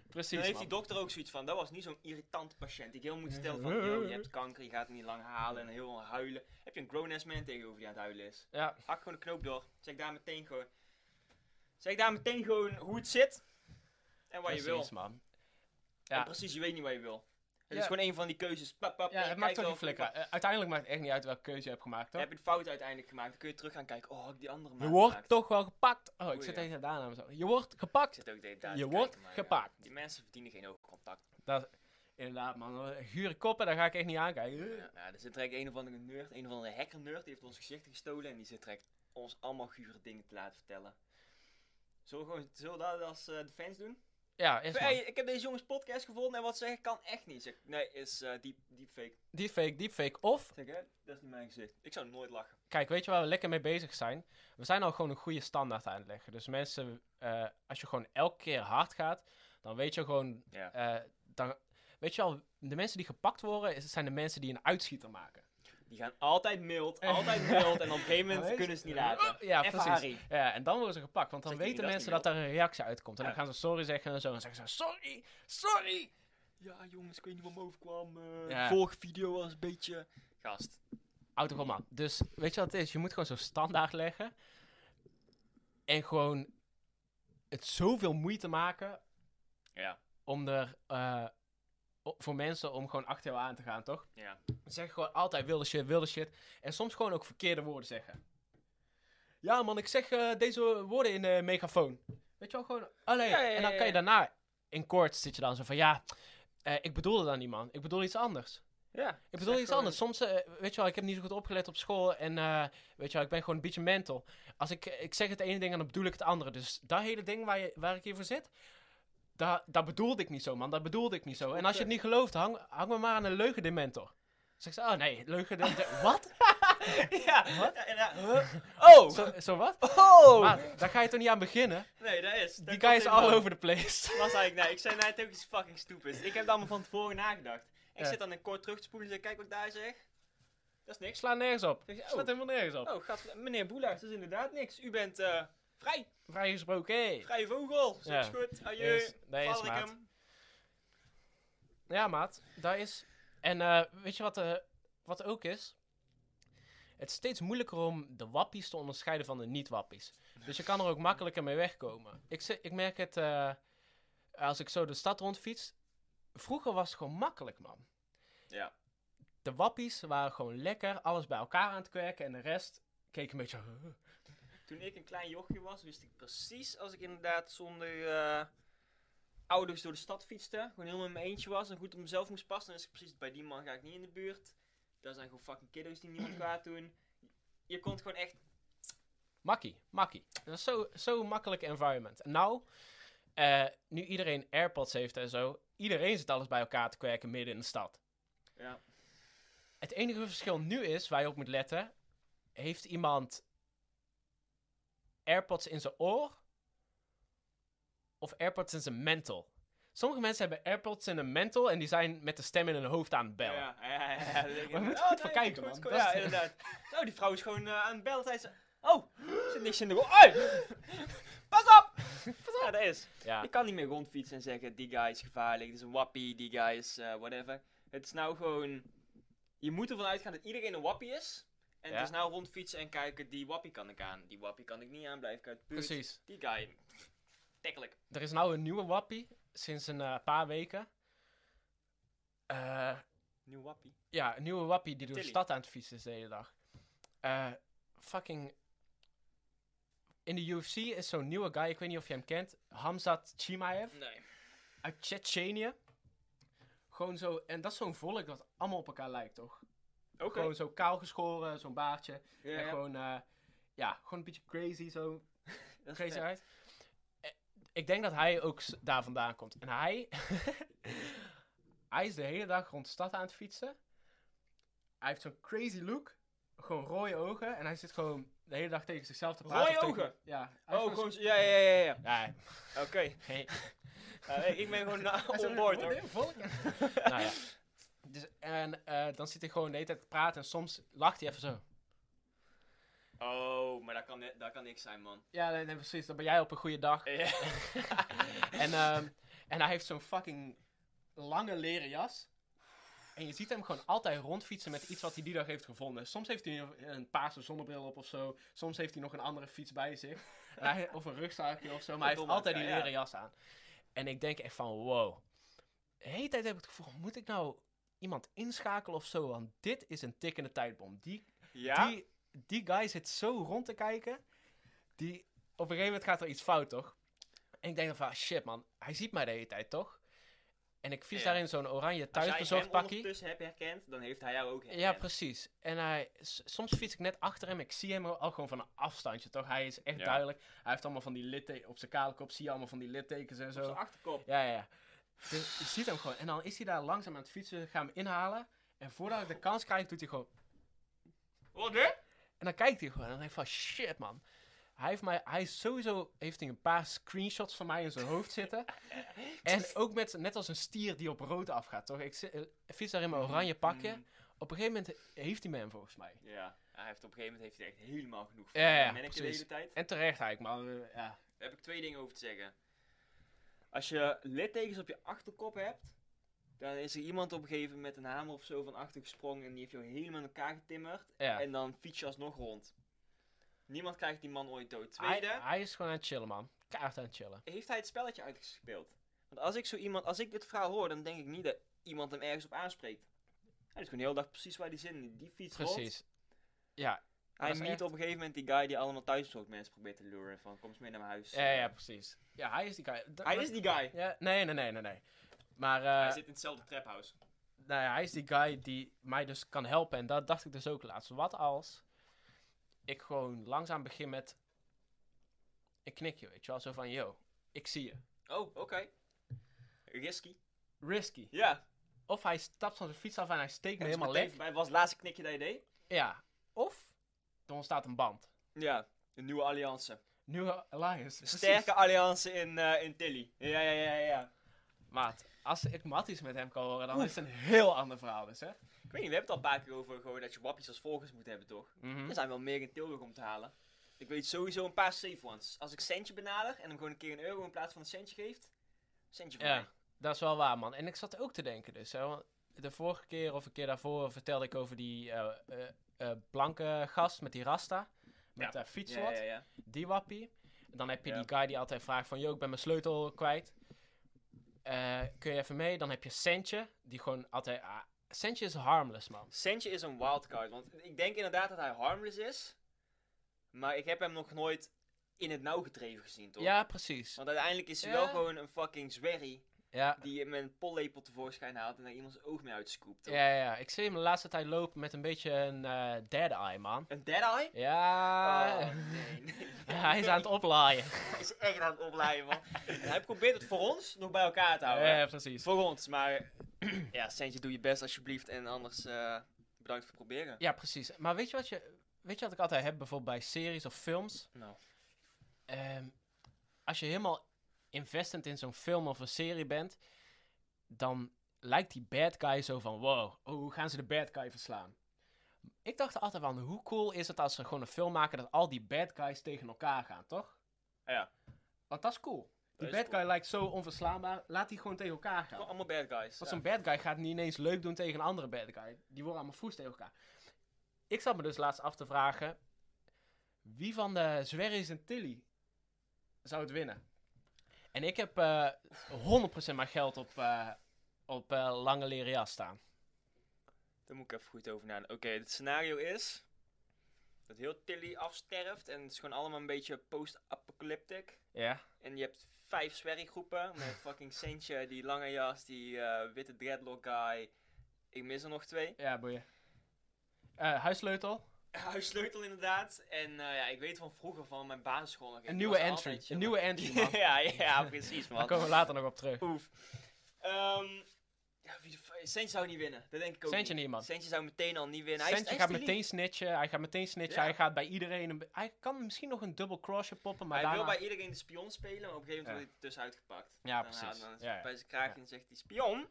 Precies,
Dan heeft die
man.
dokter ook zoiets van, dat was niet zo'n irritant patiënt. Die ik heel moet vertellen van, yo, je hebt kanker, je gaat het niet lang halen en heel lang huilen. Heb je een grown-ass man tegenover die aan het huilen is.
Ja,
Hak gewoon de knoop door. Zeg daar meteen gewoon, zeg daar meteen gewoon hoe het zit. En wat je wil.
precies, man.
En
Ja.
precies, je weet niet wat je wil. Het
Ja.
is gewoon een van die keuzes. Pap, pap,
Ja,
en
het
je
maakt
kijkt
toch
wel
geen flikker.
van,
Eh, uiteindelijk maakt het echt niet uit welke keuze je hebt gemaakt, toch?
Heb je de fout uiteindelijk gemaakt? Dan kun je terug gaan kijken. Oh, heb ik die andere
Je
maar
wordt
gemaakt.
toch wel gepakt. Oh, ik
Oei,
zit
ja.
even daarna. en zo. Je wordt
Ik
gepakt.
zit ook de hele tijd
Je
te
wordt
kijken, maar ja,
gepakt.
Die mensen verdienen geen oogcontact.
Dat, inderdaad, man. Gure koppen, daar ga ik echt niet aankijken.
Ja, nou, er zit direct een of andere nerd, een of andere hacker nerd, die heeft ons gezichten gestolen en die zit direct ons allemaal gure dingen te laten vertellen. Zullen we, gewoon, zullen we dat als eh, de fans doen?
Ja, eerst
hey,
man.
ik heb deze jongens podcast gevonden en wat zeggen kan echt niet. Zeg, nee, is eh deep, deepfake.
Deepfake, deepfake. Of,
Zeg, hè? Dat is niet mijn gezicht. Ik zou nooit lachen.
kijk, weet je waar we lekker mee bezig zijn? We zijn al gewoon een goede standaard aan het leggen. Dus mensen, eh, als je gewoon elke keer hard gaat, dan weet je gewoon...
Ja.
eh, dan, weet je al, de mensen die gepakt worden, is- zijn de mensen die een uitschieter maken.
Die gaan altijd mild, altijd mild. En op een gegeven moment kunnen ze het niet laten.
Ja,
Even
precies.
Harry.
Ja, en dan worden ze gepakt, want dan
Zeg je
weten
niet, dat is
mensen dat
niet
daar een reactie uitkomt. En
Ja.
dan gaan ze sorry zeggen en zo. En zeggen ze: Sorry, sorry.
Ja, jongens, ik weet niet wat me overkwam. eh,
Ja.
Vorige video was een beetje... Gast.
Houd er gewoon aan. Dus weet je wat het is? Je moet gewoon zo standaard leggen. En gewoon het zoveel moeite maken
Ja,
om er. eh, o- voor mensen om gewoon achter jou aan te gaan, toch?
ja.
Zeg gewoon altijd wilde shit, wilde shit. En soms gewoon ook verkeerde woorden zeggen. Ja, man, ik zeg eh, deze woorden in de megafoon. Weet je wel, gewoon alleen.
Ja, ja, ja,
en dan kan je
ja.
daarna in kort zit je dan zo van ja. eh, ik bedoelde dat niet, man. Ik bedoel iets anders.
Ja.
Ik bedoel iets anders. Soms, eh, weet je wel, ik heb niet zo goed opgelet op school. En eh, weet je wel, ik ben gewoon een beetje mental. Als ik, ik zeg het ene ding en dan bedoel ik het andere. Dus dat hele ding waar, je, waar ik hier voor zit, dat, dat bedoelde ik niet zo, man. Dat bedoelde ik niet zo. En als je het niet gelooft, hang, hang me maar aan een leugendementor. Zeg ze, oh nee, leugendementor. wat?
ja.
Wat?
ja, ja. Oh!
Zo, zo wat?
Oh!
Maar, daar ga je toch niet aan beginnen?
nee, dat is. dat
Die
klopt
guy is all
helemaal.
over the place.
Dat zei ik, nee, ik zei net ook iets fucking stupids. Ik heb het allemaal van tevoren nagedacht. Ik
Ja.
zit dan een kort terug te spoelen en zeg, kijk wat ik daar zeg. Dat is
Ik
niks.
sla nergens op.
Zeg je,
Ik
oh.
sla helemaal nergens op.
Oh, gaat, meneer Boelaars, dat is inderdaad niks. U bent eh, vrij,
Vrijgesproken, hé.
vrije vogel. Zo
Ja.
is goed, adieu.
Yes. Nee, is maat.
Flaricum.
Ja, maat, dat is. En eh, weet je wat, eh, wat ook is? Het is steeds moeilijker om de wappies te onderscheiden van de niet-wappies. Dus je kan er ook makkelijker mee wegkomen. Ik, ze- ik merk het eh, als ik zo de stad rondfiets. Vroeger was het gewoon makkelijk, man.
Ja.
De wappies waren gewoon lekker alles bij elkaar aan het kwerken en de rest keek een beetje.
Toen ik een klein jochje was, wist ik precies als ik inderdaad zonder eh, ouders door de stad fietste. Gewoon helemaal in mijn eentje was en goed op mezelf moest passen. Dan is ik precies, bij die man ga ik niet in de buurt. Daar zijn gewoon fucking kiddo's die niemand kwaad doen. Je kon het gewoon echt...
Makkie, makkie. Dat is zo, zo makkelijk environment. En nou, eh, nu iedereen AirPods heeft en zo, iedereen zit alles bij elkaar te kwerken midden in de stad.
Ja.
Het enige verschil nu is, waar je op moet letten, heeft iemand AirPods in zijn oor of AirPods in zijn mental? Sommige mensen hebben AirPods in hun mental en die zijn met de stem in hun hoofd aan het bellen.
Ja, ja, ja. ja, Oh, ja.
Maar we moeten goed voor kijken, man. Dat
ja,
is-
inderdaad. Zo, die vrouw is gewoon eh, aan het bellen tijdens... Oh, er zit niks in de... Oi! Pas op! Pas op! Ja, dat is.
Ja,
Ik kan niet meer rondfietsen en zeggen, die guy is gevaarlijk, dit is een wappie, die guy is eh, whatever. Het is nou gewoon... Je moet ervan uitgaan dat iedereen een wappie is. En
Ja.
het is nou rondfietsen en kijken, die wappie kan ik aan, die wappie kan ik niet aan, blijf ik uit de buurt.
precies.
Die guy... Tekkelijk.
Er is nou een nieuwe wappie sinds een eh, paar weken. Eh
Nieuw wappie.
Ja, een nieuwe wappie die door de
Tilly.
stad aan het fietsen is de hele dag. Eh, fucking. In de UFC is zo'n nieuwe guy, ik weet niet of je hem kent. Hamzat Chimaev
Nee.
uit Tsjetsjenië. Gewoon zo, en dat is zo'n volk dat allemaal op elkaar lijkt, toch?
Oké.
Gewoon zo kaal geschoren, zo'n baardje.
Ja,
En
ja.
gewoon, eh, ja, gewoon een beetje crazy, zo
Dat is
crazy
vet.
uit. Eh, Ik denk dat hij ook s- daar vandaan komt. En hij, hij is de hele dag rond de stad aan het fietsen. Hij heeft zo'n crazy look. Gewoon rode ogen. En hij zit gewoon de hele dag tegen zichzelf te praten.
Rode
of tegen-
ogen?
Ja. hij
Oh,
heeft
gewoon... zo- Ja, ja, ja, ja, ja.
zo'n- Ja,
Oké.
geen...
Eh, ik- ik ben gewoon na-
Hij is
on
een
board
rode
hoor.
volk. nou ja. Dus, en eh, dan zit hij gewoon de hele tijd te praten. En soms lacht hij even zo.
Oh, maar dat kan, ni- dat kan niks zijn, man.
Ja, nee, nee, precies. Dan ben jij op een goede dag.
Ja.
En, ehm, en hij heeft zo'n fucking lange leren jas. En je ziet hem gewoon altijd rondfietsen met iets wat hij die dag heeft gevonden. Soms heeft hij een, een paarse zonnebril op of zo. Soms heeft hij nog een andere fiets bij zich. En hij- of een rugzakje of zo. Maar hij heeft
Verdomme,
altijd die
ja, ja.
leren jas aan. En ik denk echt van, wow. De hele tijd heb ik het gevoel, moet ik nou iemand inschakelen of zo? Want dit is een tikkende tijdbom. Die,
ja?
die, die guy zit zo rond te kijken. Die, op een gegeven moment gaat er iets fout, toch? En ik denk dan van, ah, shit man, hij ziet mij de hele tijd, toch? En ik vies
Ja.
daarin zo'n oranje
Als jij
thuisbezorgd
hem
pakkie.
ondertussen hebt herkend, dan heeft hij jou ook herkend.
Ja, precies. En hij, s- soms fiets ik net achter hem. Ik zie hem al gewoon van een afstandje, toch? Hij is echt
Ja.
duidelijk. Hij heeft allemaal van die littekens op zijn kale kop. Zie je allemaal van die littekens en
Op
zo.
zijn achterkop.
Ja, ja, ja. Dus je ziet hem gewoon. En dan is hij daar langzaam aan het fietsen. Ik ga hem inhalen. En voordat ik de kans krijg, doet hij gewoon...
Wat hè?
En dan kijkt hij gewoon en dan denk ik van shit man. Hij heeft mij, hij is sowieso heeft hij een paar screenshots van mij in zijn hoofd zitten. en ook met, net als een stier die op rood afgaat, toch? Ik zi- eh, fiets daar in mijn oranje pakje.
Mm.
Op Op een gegeven moment heeft hij man volgens mij.
Ja, hij heeft, op een gegeven moment heeft hij echt helemaal genoeg
Ja, ja,
Daar ben ik de
precies.
hele tijd.
En terecht eigenlijk, maar eh, ja.
Daar heb ik twee dingen over te zeggen. Als je littekens op je achterkop hebt, dan is er iemand op een gegeven moment met een hamer of zo van achter gesprongen en die heeft jou helemaal in elkaar getimmerd.
ja.
En dan fiets je alsnog rond. Niemand krijgt die man ooit dood.
Hij,
Tweede,
hij is gewoon aan het chillen, man. Kaart aan het chillen.
heeft hij het spelletje uitgespeeld? Want als ik zo iemand, als ik dit verhaal hoor, dan denk ik niet dat iemand hem ergens op aanspreekt. Hij is gewoon de hele dag precies waar hij zit. in Die fiets rond.
Precies. Ja,
Hij
Dat is
meet
echt-
op een gegeven moment die guy die allemaal thuisbezorgd mensen probeert te luren. Van kom eens mee naar mijn huis.
ja, ja, precies. Ja, hij is die guy. Dat-
Hij
dat-
is die guy.
Ja, nee, nee, nee, nee, nee. Maar eh,
Hij zit in hetzelfde traphouse.
nou ja, hij is die guy die mij dus kan helpen. En dat dacht ik dus ook laatst. Wat als ik gewoon langzaam begin met een knikje, weet je wel? Zo van, yo, ik zie je.
Oh, oké. Risky.
Risky.
Ja.
Of hij stapt van zijn fiets af en hij steekt me
En
helemaal
meteen
lek.
voorbij was het laatste knikje dat je deed.
Ja. Of er ontstaat een band.
Ja. Een nieuwe alliance.
Nieuwe alliance.
Een
precies.
sterke alliance in, eh, in Tilly. Ja, ja, ja, ja.
Maat, als ik matties met hem kan horen, dan is het een heel ander verhaal dus, hè?
Ik weet niet, we hebben het al een paar keer over gewoon dat je wappies als volgers moet hebben, toch?
Mhm.
Er zijn wel meer in Tilburg om te halen. Ik weet sowieso een paar safe ones. Als ik centje benader en hem gewoon een keer een euro in plaats van een centje geeft, centje voor
Ja.
mij.
Dat is wel waar, man. En ik zat ook te denken dus. Hè, want de vorige keer of een keer daarvoor vertelde ik over die eh, eh, eh, blanke gast met die rasta. Met
Ja.
haar fiets
Ja,
wat.
ja, ja.
Die wappie. En dan heb je
Ja.
die guy die altijd vraagt van... Yo, ik ben mijn sleutel kwijt. Eh, kun je even mee? Dan heb je Sentje. Die gewoon altijd... ah, Sentje is harmless, man.
Sentje is een wildcard, want ik denk inderdaad dat hij harmless is. Maar ik heb hem nog nooit in het nauw gedreven gezien, toch?
Ja, precies.
Want uiteindelijk is hij
Ja.
wel gewoon een fucking zwerrie
Ja.
die je met een pollepel tevoorschijn haalt en daar iemands oog mee uitschroept.
Ja, ja, ja. Ik zie hem de laatste tijd lopen met een beetje een eh dead eye, man.
Een dead eye?
Ja.
Oh, nee, nee.
Ah. Hij is aan het oplaaien.
Hij is echt aan het opleiden, man. En hij probeert het voor ons nog bij elkaar te houden.
Ja, precies.
Voor ons, maar ja, Sentje, doe je best alsjeblieft en anders eh, bedankt voor het proberen.
Ja, precies. Maar weet je wat, je, weet je wat ik altijd heb, bijvoorbeeld bij series of films?
Nou.
Ehm, als je helemaal investend in zo'n film of een serie bent, dan lijkt die bad guy zo van, wow, oh, hoe gaan ze de bad guy verslaan? Ik dacht altijd van, hoe cool is het als ze gewoon een film maken dat al die bad guys tegen elkaar gaan, toch?
Ja.
Want dat is cool. Die
is
bad
cool.
guy lijkt zo onverslaanbaar, laat die gewoon tegen elkaar gaan.
Gewoon allemaal bad
Want
guys. ja.
zo'n bad guy gaat niet ineens leuk doen tegen een andere bad guy. Die worden allemaal voest tegen elkaar. Ik zat me dus laatst af te vragen... Wie van de Zwerries en Tilly zou het winnen? En ik heb eh 100% mijn geld op, eh, op eh, Lange Leren Jas staan.
Daar moet ik even goed over nadenken. Oké, het scenario is dat heel Tilly afsterft en het is gewoon allemaal een beetje post-apocalyptic.
Ja.
En je hebt vijf zwerggroepen met fucking Sentje, die lange jas, die eh, witte dreadlock guy. Ik mis er nog twee.
Ja, boeien. Eh huissleutel.
Huissleutel inderdaad. En eh, ja, ik weet van vroeger van mijn basisschool. nog. Ik
Een nieuwe
was er
entry.
altijd,
Een
jongen.
nieuwe entry, man.
ja, ja, precies
Daar
man.
komen we later nog op terug.
Oef. Ehm, ja, wie de f- Sentje zou niet winnen. Dat denk ik ook
Sentje
niet.
niet, man.
Sentje zou meteen al niet winnen. Hij is-
Sentje
hij
gaat
is te lief.
meteen snitchen. Hij gaat meteen snitchen.
Ja.
Hij gaat bij iedereen... Een, hij kan misschien nog een double crossje poppen, maar
hij
daarna...
wil bij iedereen de spion spelen, maar op een gegeven moment wordt hij er tussenuit gepakt.
Ja,
dan,
precies.
Dan is
Ja, ja.
bij zijn kraakje en zegt hij, spion!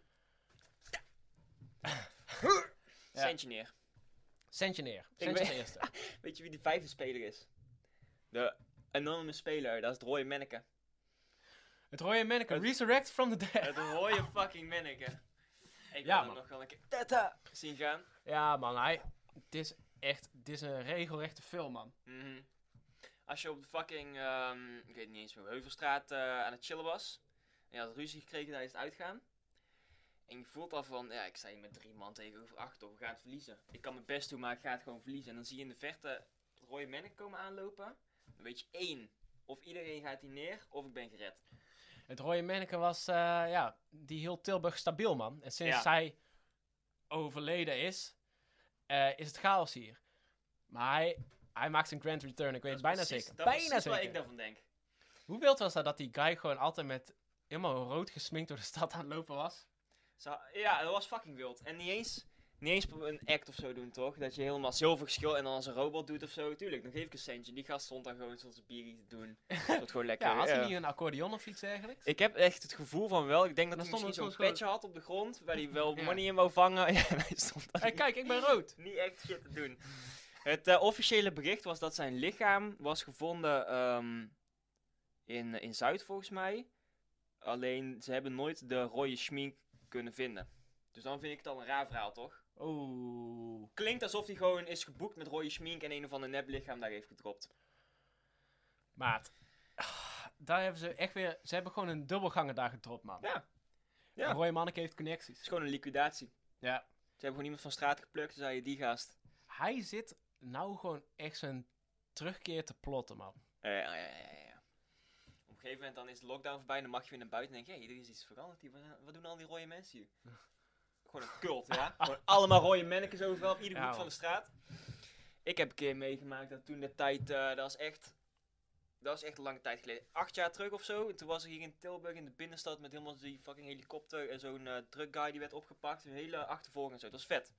Ja.
Centje neer.
Sentje neer.
Ik
Sentje
weet-
de eerste.
Weet je wie die vijfde speler is? De anonieme speler, dat is het rode manneke.
Het rode manneke. Resurrect from the dead.
Het rode fucking manneke.
Ja,
Ik wil hem
man.
nog wel een keer tata zien gaan.
Ja, man. Hij... Dit is echt... Dit is een regelrechte film, man.
Mhm. Als je op de fucking, ehm, ik weet niet eens meer, Heuvelstraat eh, aan het chillen was. En je had ruzie gekregen tijdens het uitgaan. En je voelt al van, ja, ik sta hier met drie man tegenover acht, toch, we gaan het verliezen. Ik kan mijn best doen, maar ik ga het gewoon verliezen. En dan zie je in de verte het rode mannen komen aanlopen. Dan weet je één, of iedereen gaat hier neer, of ik ben gered.
Het rode manneke was... eh, ja, die heel Tilburg stabiel, man. En sinds
Ja.
zij overleden is, eh, is het chaos hier. Maar hij... Hij maakt zijn grand return, ik weet het
Dat is
bijna
precies-
zeker.
Dat is
Bijna
precies wat
zeker.
ik daarvan denk.
Hoe wild was dat dat die guy gewoon altijd met helemaal rood gesminkt door de stad aan het lopen was?
Ze ha- ja, dat was fucking wild. En niet eens, niet eens een act of zo doen, toch? Dat je helemaal zilver geschil en dan als een robot doet of zo. Tuurlijk, dan geef ik een centje. Die gast stond daar gewoon zoals een biertje te doen. Dat gewoon lekker.
Ja, had hij
eh,
niet een accordeon of iets eigenlijk?
Ik heb echt het gevoel van wel. Ik denk dat
Dan
hij
stond er
misschien zo'n
soms gewoon-
petje had op de grond. Waar hij wel
Ja.
money in wou vangen. Ja, en hij stond daar
Hé,
niet-
Eh, kijk, ik ben rood.
niet echt shit te doen. Het eh, officiële bericht was dat zijn lichaam was gevonden ehm, in, in Zuid, volgens mij. Alleen ze hebben nooit de rode schmink kunnen vinden. Dus dan vind ik het al een raar verhaal, toch?
Oeh.
Klinkt alsof hij gewoon is geboekt met rode schmink en een of ander nep lichaam daar heeft gedropt.
Maat. Ah, Daar hebben ze echt weer... Ze hebben gewoon een dubbelganger daar gedropt, man.
Ja. Ja.
Roy Manneke heeft
Het
connecties.
is gewoon een liquidatie.
Ja.
Ze hebben gewoon iemand van straat geplukt en zeiden die gast.
Hij zit nou gewoon echt zijn terugkeer te plotten, man.
Eh, ja, ja, ja, ja, ja. Op een gegeven moment dan is de lockdown voorbij en dan mag je weer naar buiten en denk je, hey, er is iets veranderd hier. Wat, wat doen al die rode mensen hier? Gewoon een cult, ja? Gewoon allemaal rode mannetjes overal op iedere
Ja,
hoek van
man.
de straat. Ik heb een keer meegemaakt dat toen de tijd, eh, dat is echt, dat is echt een lange tijd geleden. Acht jaar terug of zo, toen was ik hier in Tilburg in de binnenstad met helemaal die fucking helikopter en zo'n eh, drug guy die werd opgepakt. Een hele achtervolging en zo, dat is vet.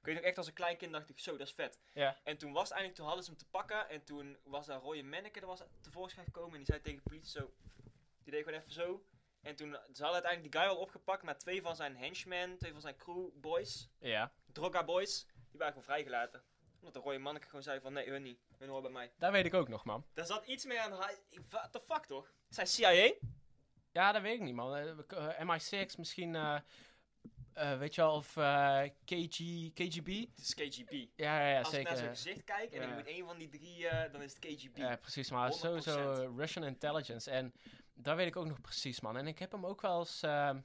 Ik weet nog echt als een klein kind dacht ik, zo, dat is vet.
Ja.
En toen was het eindelijk, toen hadden ze hem te pakken. En toen was daar rode manneke, er was tevoorschijn gekomen. En die zei tegen de politie zo, die deed gewoon even zo. En toen, ze hadden uiteindelijk die guy al opgepakt. Maar twee van zijn henchmen, twee van zijn crewboys,
Ja.
droga boys, die waren gewoon vrijgelaten. Omdat de rode manneke gewoon zei van, nee, hun niet. Hun horen bij mij.
Dat weet ik ook nog, man.
Daar zat iets mee aan de haai. What the fuck, toch? Zijn CIA?
Ja, dat weet ik niet, man. Eh, we- eh, MI6, misschien... eh, eh, weet je wel, of eh, KG, KGB?
Het is KGB.
Ja, ja, ja
Als ik
zeker.
naar zijn gezicht kijk en
Ja.
ik moet één van die drie, eh, dan is het KGB.
Ja, precies, maar
100%.
sowieso eh, Russian intelligence. En dat weet ik ook nog precies, man. En ik heb hem ook wel eens... ehm,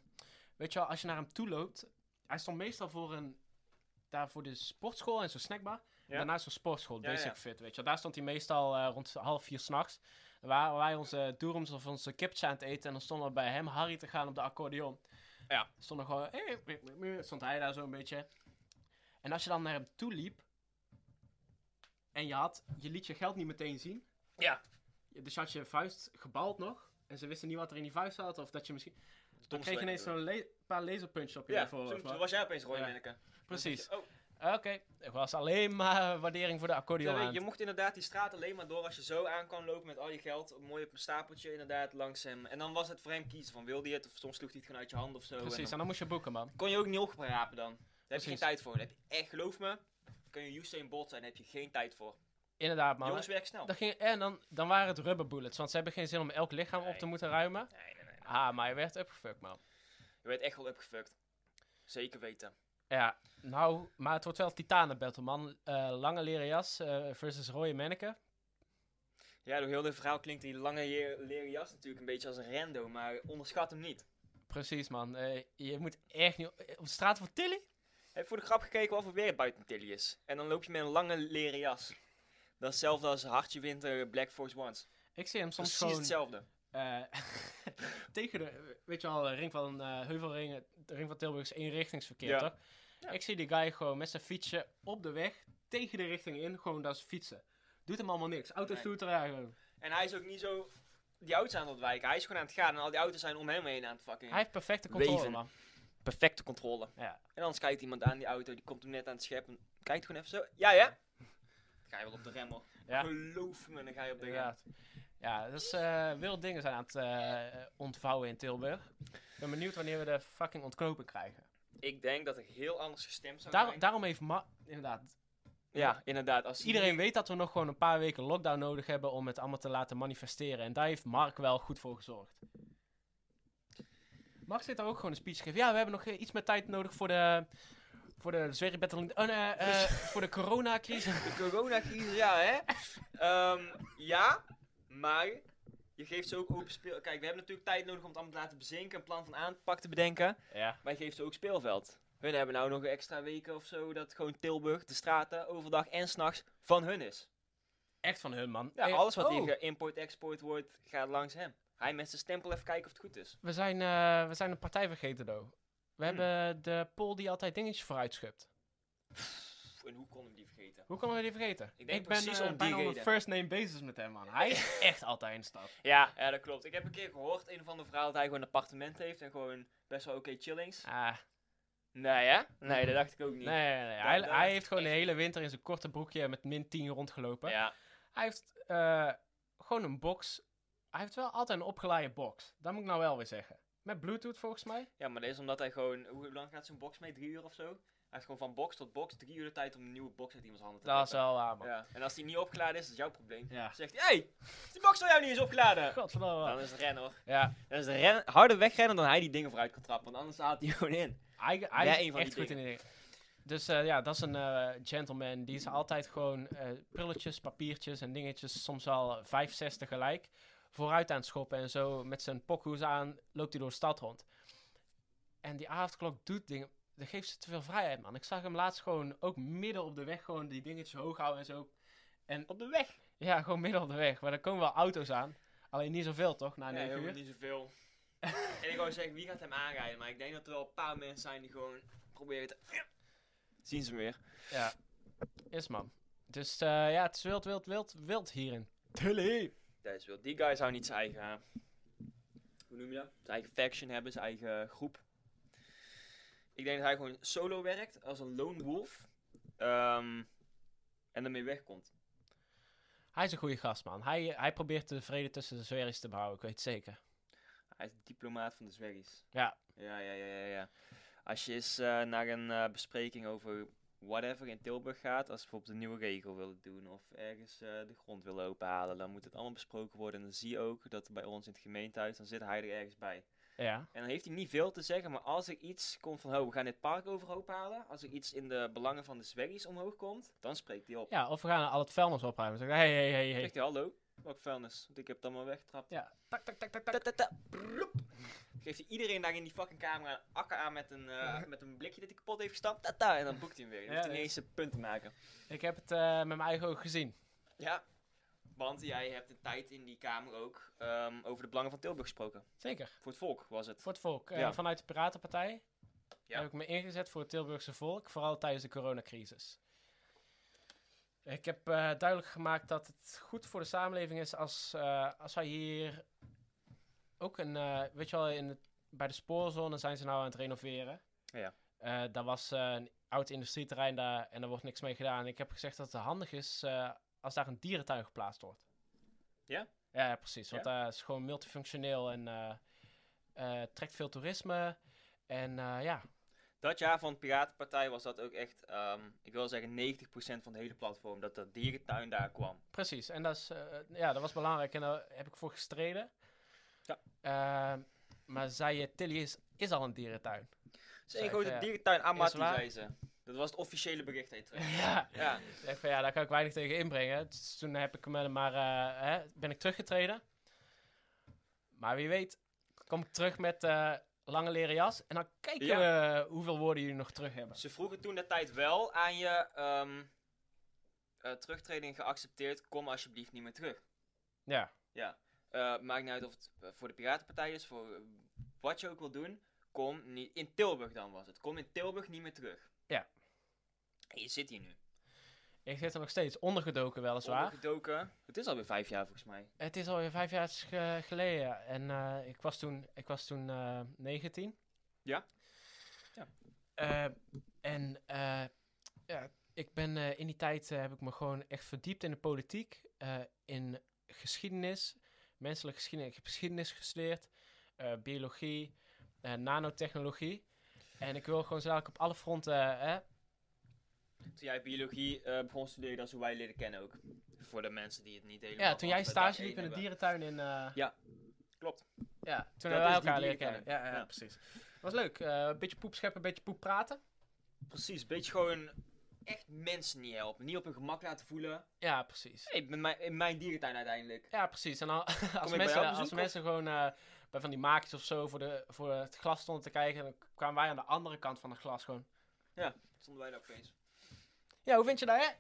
weet je wel, als je naar hem toe loopt... Hij stond meestal voor een... Daar voor de sportschool en zo'n snackbar.
Ja.
Daarna zo'n sportschool,
Ja, ja,
Basic
ja.
Fit, weet je wel. Daar stond hij meestal eh, rond half vier s'nachts. Dan waren wij onze doeroms of onze kipjes aan het eten. En dan stonden we bij hem Harry te gaan op de accordeon.
Ja.
Stond er gewoon... eh, Stond hij daar zo een beetje. En als je dan naar hem toe liep... En je had... Je liet je geld niet meteen zien.
ja.
Dus je had je vuist gebald nog. En ze wisten niet wat er in die vuist zat. Of dat je misschien. Dan kreeg je ineens zo'n le- paar laserpunch op je
Ja,
voorhoofd,
toen toen
man.
was jij opeens rode
Ja.
manneke.
Precies.
Oh,
Oké. Er was alleen maar waardering voor de accordeon.
Ja,
aan
weet je,
het-
je mocht inderdaad die straat alleen maar door als je zo aan kan lopen met al je geld. Mooi op een stapeltje inderdaad langs hem. En dan was het voor hem kiezen van wilde je het of soms sloeg hij het gewoon uit je hand of zo.
Precies.
En
En dan moest je boeken, man.
dan kon je ook niet oprapen dan. Daar heb je geen
Precies.
tijd voor. Daar heb je echt, geloof me, kan je Usain Bolt zijn, daar heb je geen tijd voor.
Inderdaad, man.
Jongens, werk snel.
Dan ging, en dan, dan waren het rubber bullets. Want ze hebben geen zin om elk lichaam op te
Nee.
moeten ruimen.
Nee, nee, nee. nee.
Ah, maar je werd upgefucked, man.
Je werd echt wel opgefuckt. Zeker weten.
Ja, nou, maar het wordt wel titanen battle, man. Eh, lange leren jas eh, versus rode manneke.
Ja, door heel dit verhaal klinkt die lange je- leren jas natuurlijk een beetje als een rando, maar onderschat hem niet.
Precies, man. Eh, je moet echt niet... Op de straat van Tilly?
Heb je voor de grap gekeken of er weer buiten Tilly is? En dan loop je met een lange leren jas. Dat is hetzelfde als Hartje Winter Black Force Ones.
Ik zie hem soms
Precies
gewoon...
hetzelfde.
Eh, tegen de, weet je al, ring van eh, Heuvelringen, de ring van Tilburg is eenrichtingsverkeer,
Ja.
toch?
Ja.
Ik zie die guy gewoon met zijn fietsje op de weg, tegen de richting in, gewoon daar zijn fietsen. Doet hem allemaal niks. Auto's
Nee.
doet er eigenlijk.
En hij is ook niet zo die auto's aan het ontwijken. Hij is gewoon aan het gaan en al die auto's zijn om hem heen aan het fucking...
Hij heeft perfecte controle,
Weven.
man.
Perfecte controle.
Ja.
En anders kijkt iemand aan die auto, die komt hem net aan het scheppen. Kijkt gewoon even zo. Ja, ja. Dan ga je wel op de rem, hoor.
Ja.
Geloof me, dan ga je op de rem.
Inderdaad. Ja, dus eh wilde dingen zijn aan het eh, ontvouwen in Tilburg. Ik ben benieuwd wanneer we de fucking ontknoping krijgen.
Ik denk dat er heel anders gestemd zou
Daar-
zijn.
daarom heeft Ma... Inderdaad.
ja, inderdaad. Als
Iedereen weet dat we nog gewoon een paar weken lockdown nodig hebben om het allemaal te laten manifesteren. En daar heeft Mark wel goed voor gezorgd. Mark zit daar ook gewoon een speech geven. Ja, we hebben nog eh, iets meer tijd nodig voor de. Voor de zwerigbattle. Oh, nee, eh, voor de coronacrisis.
De coronacrisis, ja, hè? Ehm, ja, maar je geeft ze ook open speel... Kijk, we hebben natuurlijk tijd nodig om het allemaal te laten bezinken, een plan van aanpak te bedenken.
Ja.
Maar je geeft ze ook speelveld. Hun hebben nou nog een extra weken of zo dat gewoon Tilburg, de straten, overdag en s'nachts van hun is.
Echt van hun, man.
Ja,
Eh,
alles wat
oh,
hier geïmport-export wordt, gaat langs hem. Hij met zijn stempel even kijken of het goed is.
we, zijn, eh, we zijn een partij vergeten, though. We
Hmm.
hebben de poll die altijd dingetjes vooruit schubt.
Pff, en hoe kon hem die vergeten?
Hoe kunnen we die vergeten?
Ik denk
ben
precies
eh,
om die
bijna
reden.
on a first name basis met hem, man. Hij is echt altijd in de stad.
Ja, ja, dat klopt. Ik heb een keer gehoord, een of ander verhaal, dat hij gewoon een appartement heeft en gewoon best wel oké chillings.
Ah,
Nee, hè? Nee, dat dacht ik ook niet.
Nee, nee, nee. Hij,
dat
hij
is
heeft gewoon de
echt-
hele winter in zijn korte broekje met min 10 rondgelopen.
Ja.
Hij heeft eh, gewoon een box. Hij heeft wel altijd een opgeleide box. Dat moet ik nou wel weer zeggen. Met Bluetooth volgens mij.
ja, maar dat is omdat hij gewoon... Hoe lang gaat zo'n box mee? Drie uur of zo? Hij heeft gewoon van box tot box drie uur de tijd om een nieuwe box uit iemands handen te
Dat is
pakken.
wel waar, man.
Ja. En als die niet opgeladen is, is het jouw probleem.
Ja.
Zegt hij, hey, die box van jou niet eens opgeladen.
Godverdomme.
Dan is het rennen hoor.
Ja,
Dan is het rennen, harder wegrennen dan hij die dingen vooruit kan trappen. Want anders haalt hij gewoon in.
hij, hij
Ja,
is
een van die
echt goed in die dingen. Dus eh, ja, dat is een eh, gentleman. Die is altijd gewoon eh, prulletjes, papiertjes en dingetjes. Soms al vijf, zes tegelijk. Vooruit aan het schoppen en zo. Met zijn pokhoes aan loopt hij door de stad rond. En die avondklok doet dingen. Dat geeft ze te veel vrijheid, man. Ik zag hem laatst gewoon ook midden op de weg gewoon die dingetjes hoog houden en zo.
Op de weg.
Ja, gewoon midden op de weg. Maar er komen wel auto's aan. Alleen niet zoveel, toch? Na
Nee,
negen
helemaal
uur.
niet zoveel. en ik wou zeggen, wie gaat hem aanrijden? Maar ik denk dat er wel een paar mensen zijn die gewoon proberen te... Zien ze hem weer.
Ja. Is man. Dus eh, ja, het is wild, wild, wild, wild hierin. Tully!
Dat is wel. Die guy zou niet zijn eigen... eh, hoe noem je dat? Zijn eigen faction hebben, zijn eigen groep. Ik denk dat hij gewoon solo werkt, als een lone wolf. Ehm, en ermee wegkomt.
Hij is een goede gast, man. Hij, hij probeert de vrede tussen de zwerries te behouden, ik weet het zeker.
Hij is de diplomaat van de zwergies.
Ja.
Ja, ja, ja, ja. ja. Als je eens eh, naar een eh, bespreking over whatever in Tilburg gaat, als ze bijvoorbeeld een nieuwe regel willen doen of ergens eh, de grond willen openhalen, dan moet het allemaal besproken worden. En dan zie je ook dat bij ons in het gemeentehuis, dan zit hij er ergens bij.
Ja.
En dan heeft hij niet veel te zeggen, maar als er iets komt van, oh, we gaan dit park overhoop halen, als er iets in de belangen van de zwergies omhoog komt, dan spreekt hij op.
Ja, of we gaan al het vuilnis opruimen. Zeg, hey, hey, hey, hey.
Zegt hij, hallo, welk vuilnis, want ik heb het allemaal weggetrapt.
Ja. Tak, tak, tak, tak,
Ta
tak.
ta ta. Broep. Geeft hij iedereen daar in die fucking camera een akker aan met een, eh, met een blikje dat hij kapot heeft gestampt. Ta ta. En dan boekt hij hem weer. Dan
Ja,
hoeft hij
dat
niet eens een punt te maken.
Ik heb het eh, met mijn eigen ogen gezien.
Ja. Want jij hebt een tijd in die kamer ook ehm, over de belangen van Tilburg gesproken.
Zeker.
Voor het volk was het.
Voor het volk. Eh,
Ja.
Vanuit de Piratenpartij
Ja.
heb ik me ingezet voor het Tilburgse volk. Vooral tijdens de coronacrisis. Ik heb eh, duidelijk gemaakt dat het goed voor de samenleving is als, eh, als wij hier ook een, eh, weet je wel, in het, bij de spoorzone zijn ze nou aan het renoveren.
Ja.
Eh, daar was eh, een oud industrieterrein daar en daar wordt niks mee gedaan. Ik heb gezegd dat het handig is eh, als daar een dierentuin geplaatst wordt.
Ja?
Ja, ja, precies. Want daar is gewoon multifunctioneel en eh, eh, trekt veel toerisme. En eh, ja,
Dat jaar van de Piratenpartij was dat ook echt, ehm, ik wil zeggen 90% van de hele platform. Dat dat dierentuin daar kwam.
Precies, en dat, is, eh, ja, dat was belangrijk en daar heb ik voor gestreden.
Ja.
Ehm, maar zei je, Tilly is, is al een dierentuin.
Dus één
Zeg,
grote
ja.
dierentuin aan
Is
Martin,
waar?
zei ze. Dat was het officiële bericht dat je terug.
ja.
Ja.
Ik dacht van, ja, daar kan ik weinig tegen inbrengen. Dus toen heb ik hem er maar, eh, hè, ben ik teruggetreden. Maar wie weet, kom ik terug met eh, lange leren jas. En dan kijken
Ja.
we hoeveel woorden jullie nog terug hebben.
Ze vroegen toen de tijd wel aan je ehm, eh, terugtreding geaccepteerd. Kom alsjeblieft niet meer terug.
Ja,
Ja. Eh, maakt niet uit of het eh, voor de Piratenpartij is, voor eh, wat je ook wil doen. Kom niet. In Tilburg dan was het. Kom in Tilburg niet meer terug.
Ja.
En je zit hier nu.
ik zit er nog steeds ondergedoken, weliswaar.
Ondergedoken. Het is alweer vijf jaar volgens mij.
Het is alweer vijf jaar ge- geleden. En eh, ik was toen, ik was toen eh, 19.
Ja. Ja.
Eh, en eh, ja, ik ben eh, in die tijd eh, heb ik me gewoon echt verdiept in de politiek, eh, in geschiedenis, menselijke geschiedenis. Ik heb geschiedenis gestudeerd, eh, biologie, eh, nanotechnologie. En ik wil gewoon zo dadelijk op alle fronten. eh,
Toen jij biologie eh, begon te studeren, dat is hoe wij leren kennen ook. Voor de mensen die het niet helemaal...
ja, toen jij
vanaf dag
stage
één
liep in de
hebben.
dierentuin in. eh,
Klopt.
Ja, toen
Dat
hebben wij
is die
elkaar leren kennen.
dierentuin.
Ja, ja,
Ja.
precies. Was leuk. Eh, Een beetje poep scheppen, een beetje poep praten.
Precies, beetje gewoon echt mensen niet helpen. Niet op hun gemak laten voelen.
Ja, precies.
Hey, in, mijn, in mijn dierentuin uiteindelijk.
Ja, precies. En al- als,
bij
mensen,
jou
als
bezoeken?
mensen gewoon eh, bij van die maakjes of zo voor, de, voor het glas stonden te kijken, dan kwamen wij aan de andere kant van het glas gewoon.
Stonden wij daar opeens.
Ja, hoe vind je dat, hè?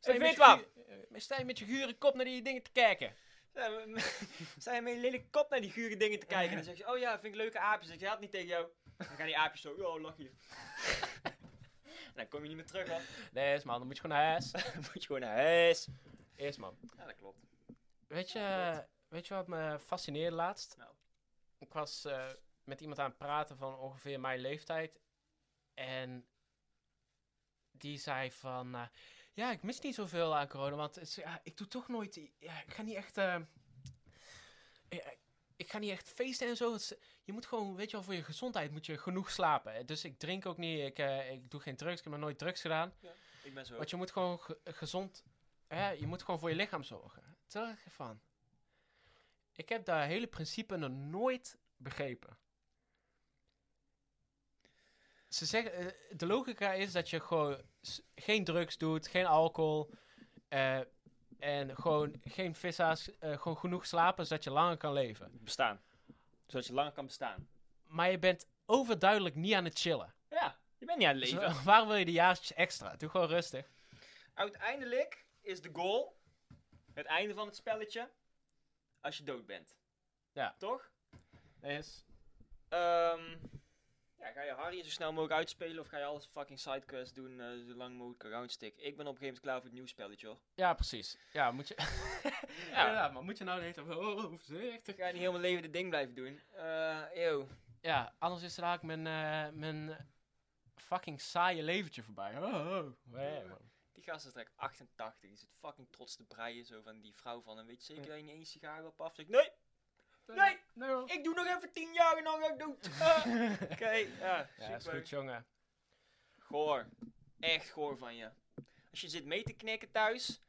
Sta je,
Ik
met
vind
je, gu- eh, sta je met je gure kop naar die dingen te kijken?
Zijn we zijn we met een lelijke kop naar die gure dingen te kijken. En dan zeg je, oh ja, vind ik leuke aapjes. Ik zeg het niet tegen jou. Dan gaan die aapjes zo, oh, lach hier. en dan kom je niet meer terug, hoor.
Nee, is man, dan moet je gewoon naar huis.
Dan moet je gewoon naar huis.
Eerst, man.
Ja, dat klopt.
Weet je, weet je wat me fascineerde laatst?
Nou.
Ik was eh, met iemand aan het praten van ongeveer mijn leeftijd. En die zei van, eh, ja, ik mis niet zoveel aan corona, want het is- ja, ik doe toch nooit, i- ja, ik ga niet echt, eh, ja, ik ga niet echt feesten en zo. Het is- je moet gewoon, weet je wel, voor je gezondheid moet je genoeg slapen. Dus ik drink ook niet, ik, eh, ik doe geen drugs, ik heb nog nooit drugs gedaan.
Ik ben zo.
Want je moet gewoon ge- gezond, hè, je moet gewoon voor je lichaam zorgen. Toen dacht ik van, ik heb dat hele principe nog nooit begrepen. Ze zeggen, eh, de logica is dat je gewoon s- geen drugs doet, geen alcohol eh, en gewoon geen vissa's, eh, gewoon genoeg slapen zodat je langer kan leven.
Bestaan. Zodat je langer kan bestaan.
Maar je bent overduidelijk niet aan het chillen.
Ja, je bent niet aan het
Dus
leven.
wa- waarom wil je die jaartjes extra? Doe gewoon rustig.
Uiteindelijk is de goal het einde van het spelletje als je dood bent.
Ja.
Toch?
Yes.
Ehm, ja, ga je Harry zo snel mogelijk uitspelen of ga je alles fucking sidequests doen eh, zo lang mogelijk roundstick? Ik ben op een gegeven moment klaar voor het nieuw spelletje hoor.
Ja, precies. Ja, moet je...
Ja.
ja. maar moet je nou de hele tijd... Oh, oh, voorzichtig.
Ik ga niet heel mijn leven dit ding blijven doen. Eh, eeuw.
Ja, anders is er eigenlijk mijn, eh, mijn fucking saaie leventje voorbij. Oh, oh. Nee, man.
Die gast is direct 88. Die zit fucking trots te breien zo van die vrouw van. En weet je zeker
Ja.
dat je niet één sigaar wil af? Zeg ik, nee, Nee!
Nee, hoor.
ik doe nog even 10 jaar en dan ga ik dood. Ah. Oké, ja,
Ja, is
super.
goed, jongen.
Goor. Echt goor van je. Als je zit mee te knikken thuis,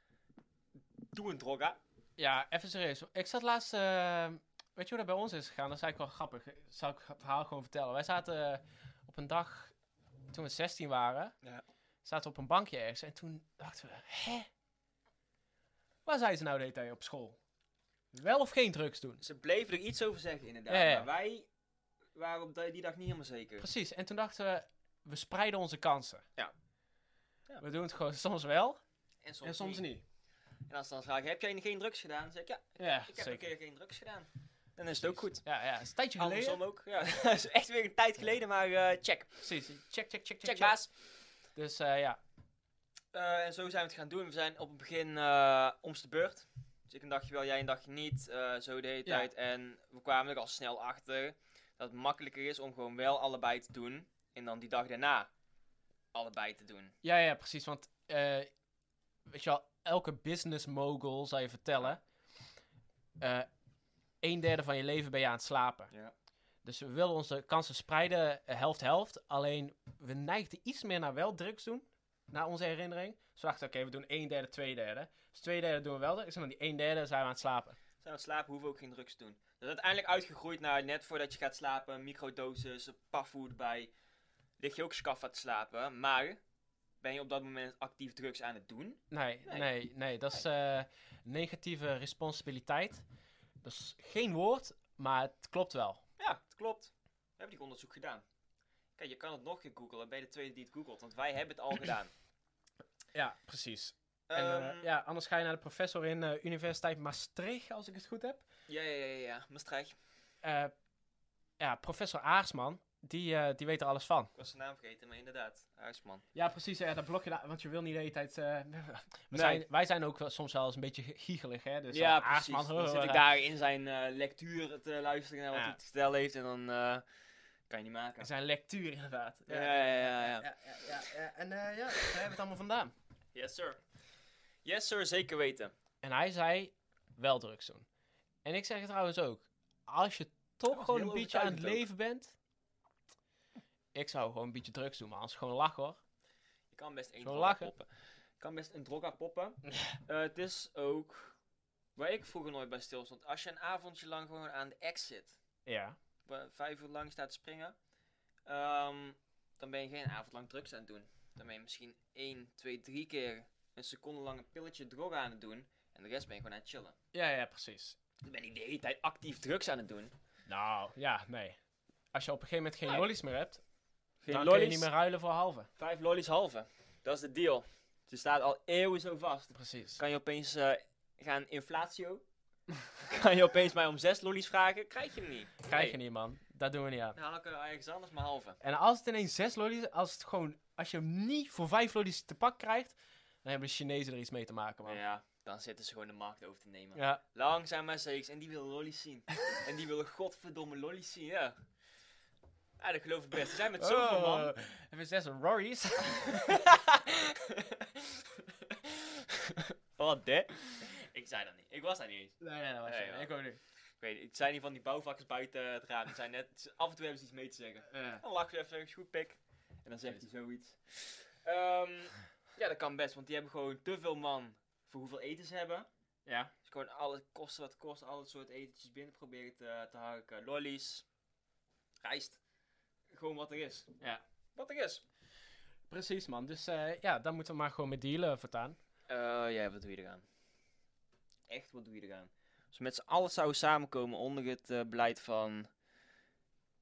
doe een droga.
Ja, even serieus. Ik zat laatst... eh, weet je hoe dat bij ons is gegaan? Dat is eigenlijk wel grappig. Zal ik het verhaal gewoon vertellen. Wij zaten eh, op een dag, toen we 16 waren...
Ja.
Zaten we op een bankje ergens. En toen dachten we... Hè? Waar zijn ze nou de hele tijd op school? Wel of geen drugs doen?
Ze bleven er iets over zeggen inderdaad.
Ja, ja.
Maar wij waren op die die dag niet helemaal zeker.
Precies, en toen dachten we, we spreiden onze kansen.
Ja. Ja.
We doen het gewoon soms wel
En soms,
en soms niet.
En als ze dan vragen, heb jij geen drugs gedaan? Dan zeg ik, ja,
Ja,
ik heb
zeker.
een keer geen drugs gedaan. Dan is het ook goed.
Ja, ja, het is een tijdje geleden.
Andersom ook. Ja, dat is echt weer een tijd geleden, maar eh, check.
Precies, check, check, check, check.
Check, baas.
Dus eh, ja,
Eh, en zo zijn we het gaan doen. We zijn op het begin eh om's de beurt. Dus ik een dagje wel, jij een dagje niet. eh, zo de hele
Ja.
tijd. En we kwamen er al snel achter dat het makkelijker is om gewoon wel allebei te doen. En dan die dag daarna allebei te doen.
ja, ja, precies, want eh, weet je wel, elke business mogul zal je vertellen, eh een derde van je leven ben je aan het slapen.
Ja.
Dus we willen onze kansen spreiden, eh, helft-helft. Alleen, we neigden iets meer naar wel drugs doen, naar onze herinnering. Dus we dachten, oké, we doen een derde, twee derde. Dus twee derde doen we wel, drugs, en dan die een derde zijn we aan het slapen.
Zijn we aan het slapen, hoeven we ook geen drugs te doen. Dat is uiteindelijk uitgegroeid naar net voordat je gaat slapen, microdosis, een pafvoer erbij. Lig je ook scaffa te slapen, maar ben je op dat moment actief drugs aan het doen?
Nee,
Nee.
nee, nee, dat is eh, negatieve responsabiliteit. Dat is geen woord, maar het klopt wel.
Ja, het klopt. We hebben die onderzoek gedaan. Kijk, je kan het nog een keer googlen. Ben je de tweede die het googelt? Want wij hebben het al gedaan.
Ja, precies. En,
Ehm,
eh, ja, anders ga je naar de professor in eh Universiteit Maastricht, als ik het goed heb.
ja, ja, ja, ja. Maastricht.
Eh, ja, professor Aarsman, die, eh, die weet er alles van.
Ik was zijn naam vergeten, maar inderdaad. Huisman.
Ja, precies. Ja, dat blok je, daar, want je wil niet de hele tijd... eh, we
Nee.
zijn, wij zijn ook wel, soms wel eens een beetje gi- giegelig, hè? Dus
ja,
dan, ah,
precies.
man,
dan
huh,
zit ik
huh.
daar in zijn eh, lectuur te luisteren naar wat
Ja.
hij te vertellen heeft. En dan eh, kan je niet maken.
Zijn lectuur, inderdaad.
Ja, ja, ja, ja. ja.
ja, ja, ja, ja. En eh, ja, daar hebben we het allemaal vandaan.
Yes, sir. Yes, sir. Zeker weten.
En hij zei, wel drugs doen. En ik zeg het trouwens ook. Als je
Hij
toch
was
gewoon
heel
een beetje aan het
overtuigend ook.
leven bent... Ik zou gewoon een beetje drugs doen, maar anders gewoon lachen, hoor.
Je kan best een
Zo
droga
lachen.
poppen. Je kan best een droga poppen. Eh, het is ook... Waar ik vroeger nooit bij stil stond. Als je een avondje lang gewoon aan de ex zit.
Ja.
wa- vijf uur lang staat te springen, ehm, dan ben je geen avond lang drugs aan het doen. Dan ben je misschien één, twee, drie keer een seconde lang een pilletje droog aan het doen. En de rest ben je gewoon aan het chillen.
Ja, ja, precies.
Dan ben ik de hele tijd actief drugs aan het doen.
Nou, ja, nee. Als je op een gegeven moment geen
Nee.
lollies meer hebt,
Geen
dan kun je
lollies,
niet meer ruilen voor halve.
vijf lollies halve. Dat is de deal. Ze staat al eeuwen zo vast.
Precies.
Kan je opeens eh, gaan inflatio? kan je opeens mij om zes lollies vragen? Krijg je hem niet.
Krijg je niet, man. Dat doen we niet aan.
Dan haal ik er ergens anders maar halve.
En als het ineens zes lollies, als het gewoon, als je hem niet voor vijf lollies te pak krijgt, dan hebben de Chinezen er iets mee te maken, man. Ja.
Ja, dan zitten ze gewoon de markt over te nemen.
Ja,
Langzaam maar zeker. En die willen lollies zien. en die willen godverdomme lollies zien, ja. Ja, dat geloof ik best. Ze zijn
Oh.
met zoveel man.
Hebben we zes Rorys?
Wat de? Ik zei dat niet. Ik was daar niet eens.
nee, nee, dat was
Nee,
je.
ja.
Ik ook niet.
Ik weet niet. Het zijn hier van die bouwvakkers buiten eh, het raam. Die zijn net, af en toe hebben ze iets mee te zeggen.
Eh,
Dan lachen ze even, is goed pik. En dan zegt hij zoiets. Ehm, ja, dat kan best, want die hebben gewoon te veel man voor hoeveel eten ze hebben.
ja.
Dus gewoon alle kosten wat kost, alle soort etentjes binnen proberen te, te harken. Lollies, rijst. Gewoon wat er is.
Ja.
Wat er is.
Precies, man. Dus eh, ja, daar moeten we maar gewoon mee dealen voortaan.
Eh, ja, wat doe je eraan? Echt, wat doe je eraan? Als we met z'n allen zouden samenkomen onder het eh, beleid van...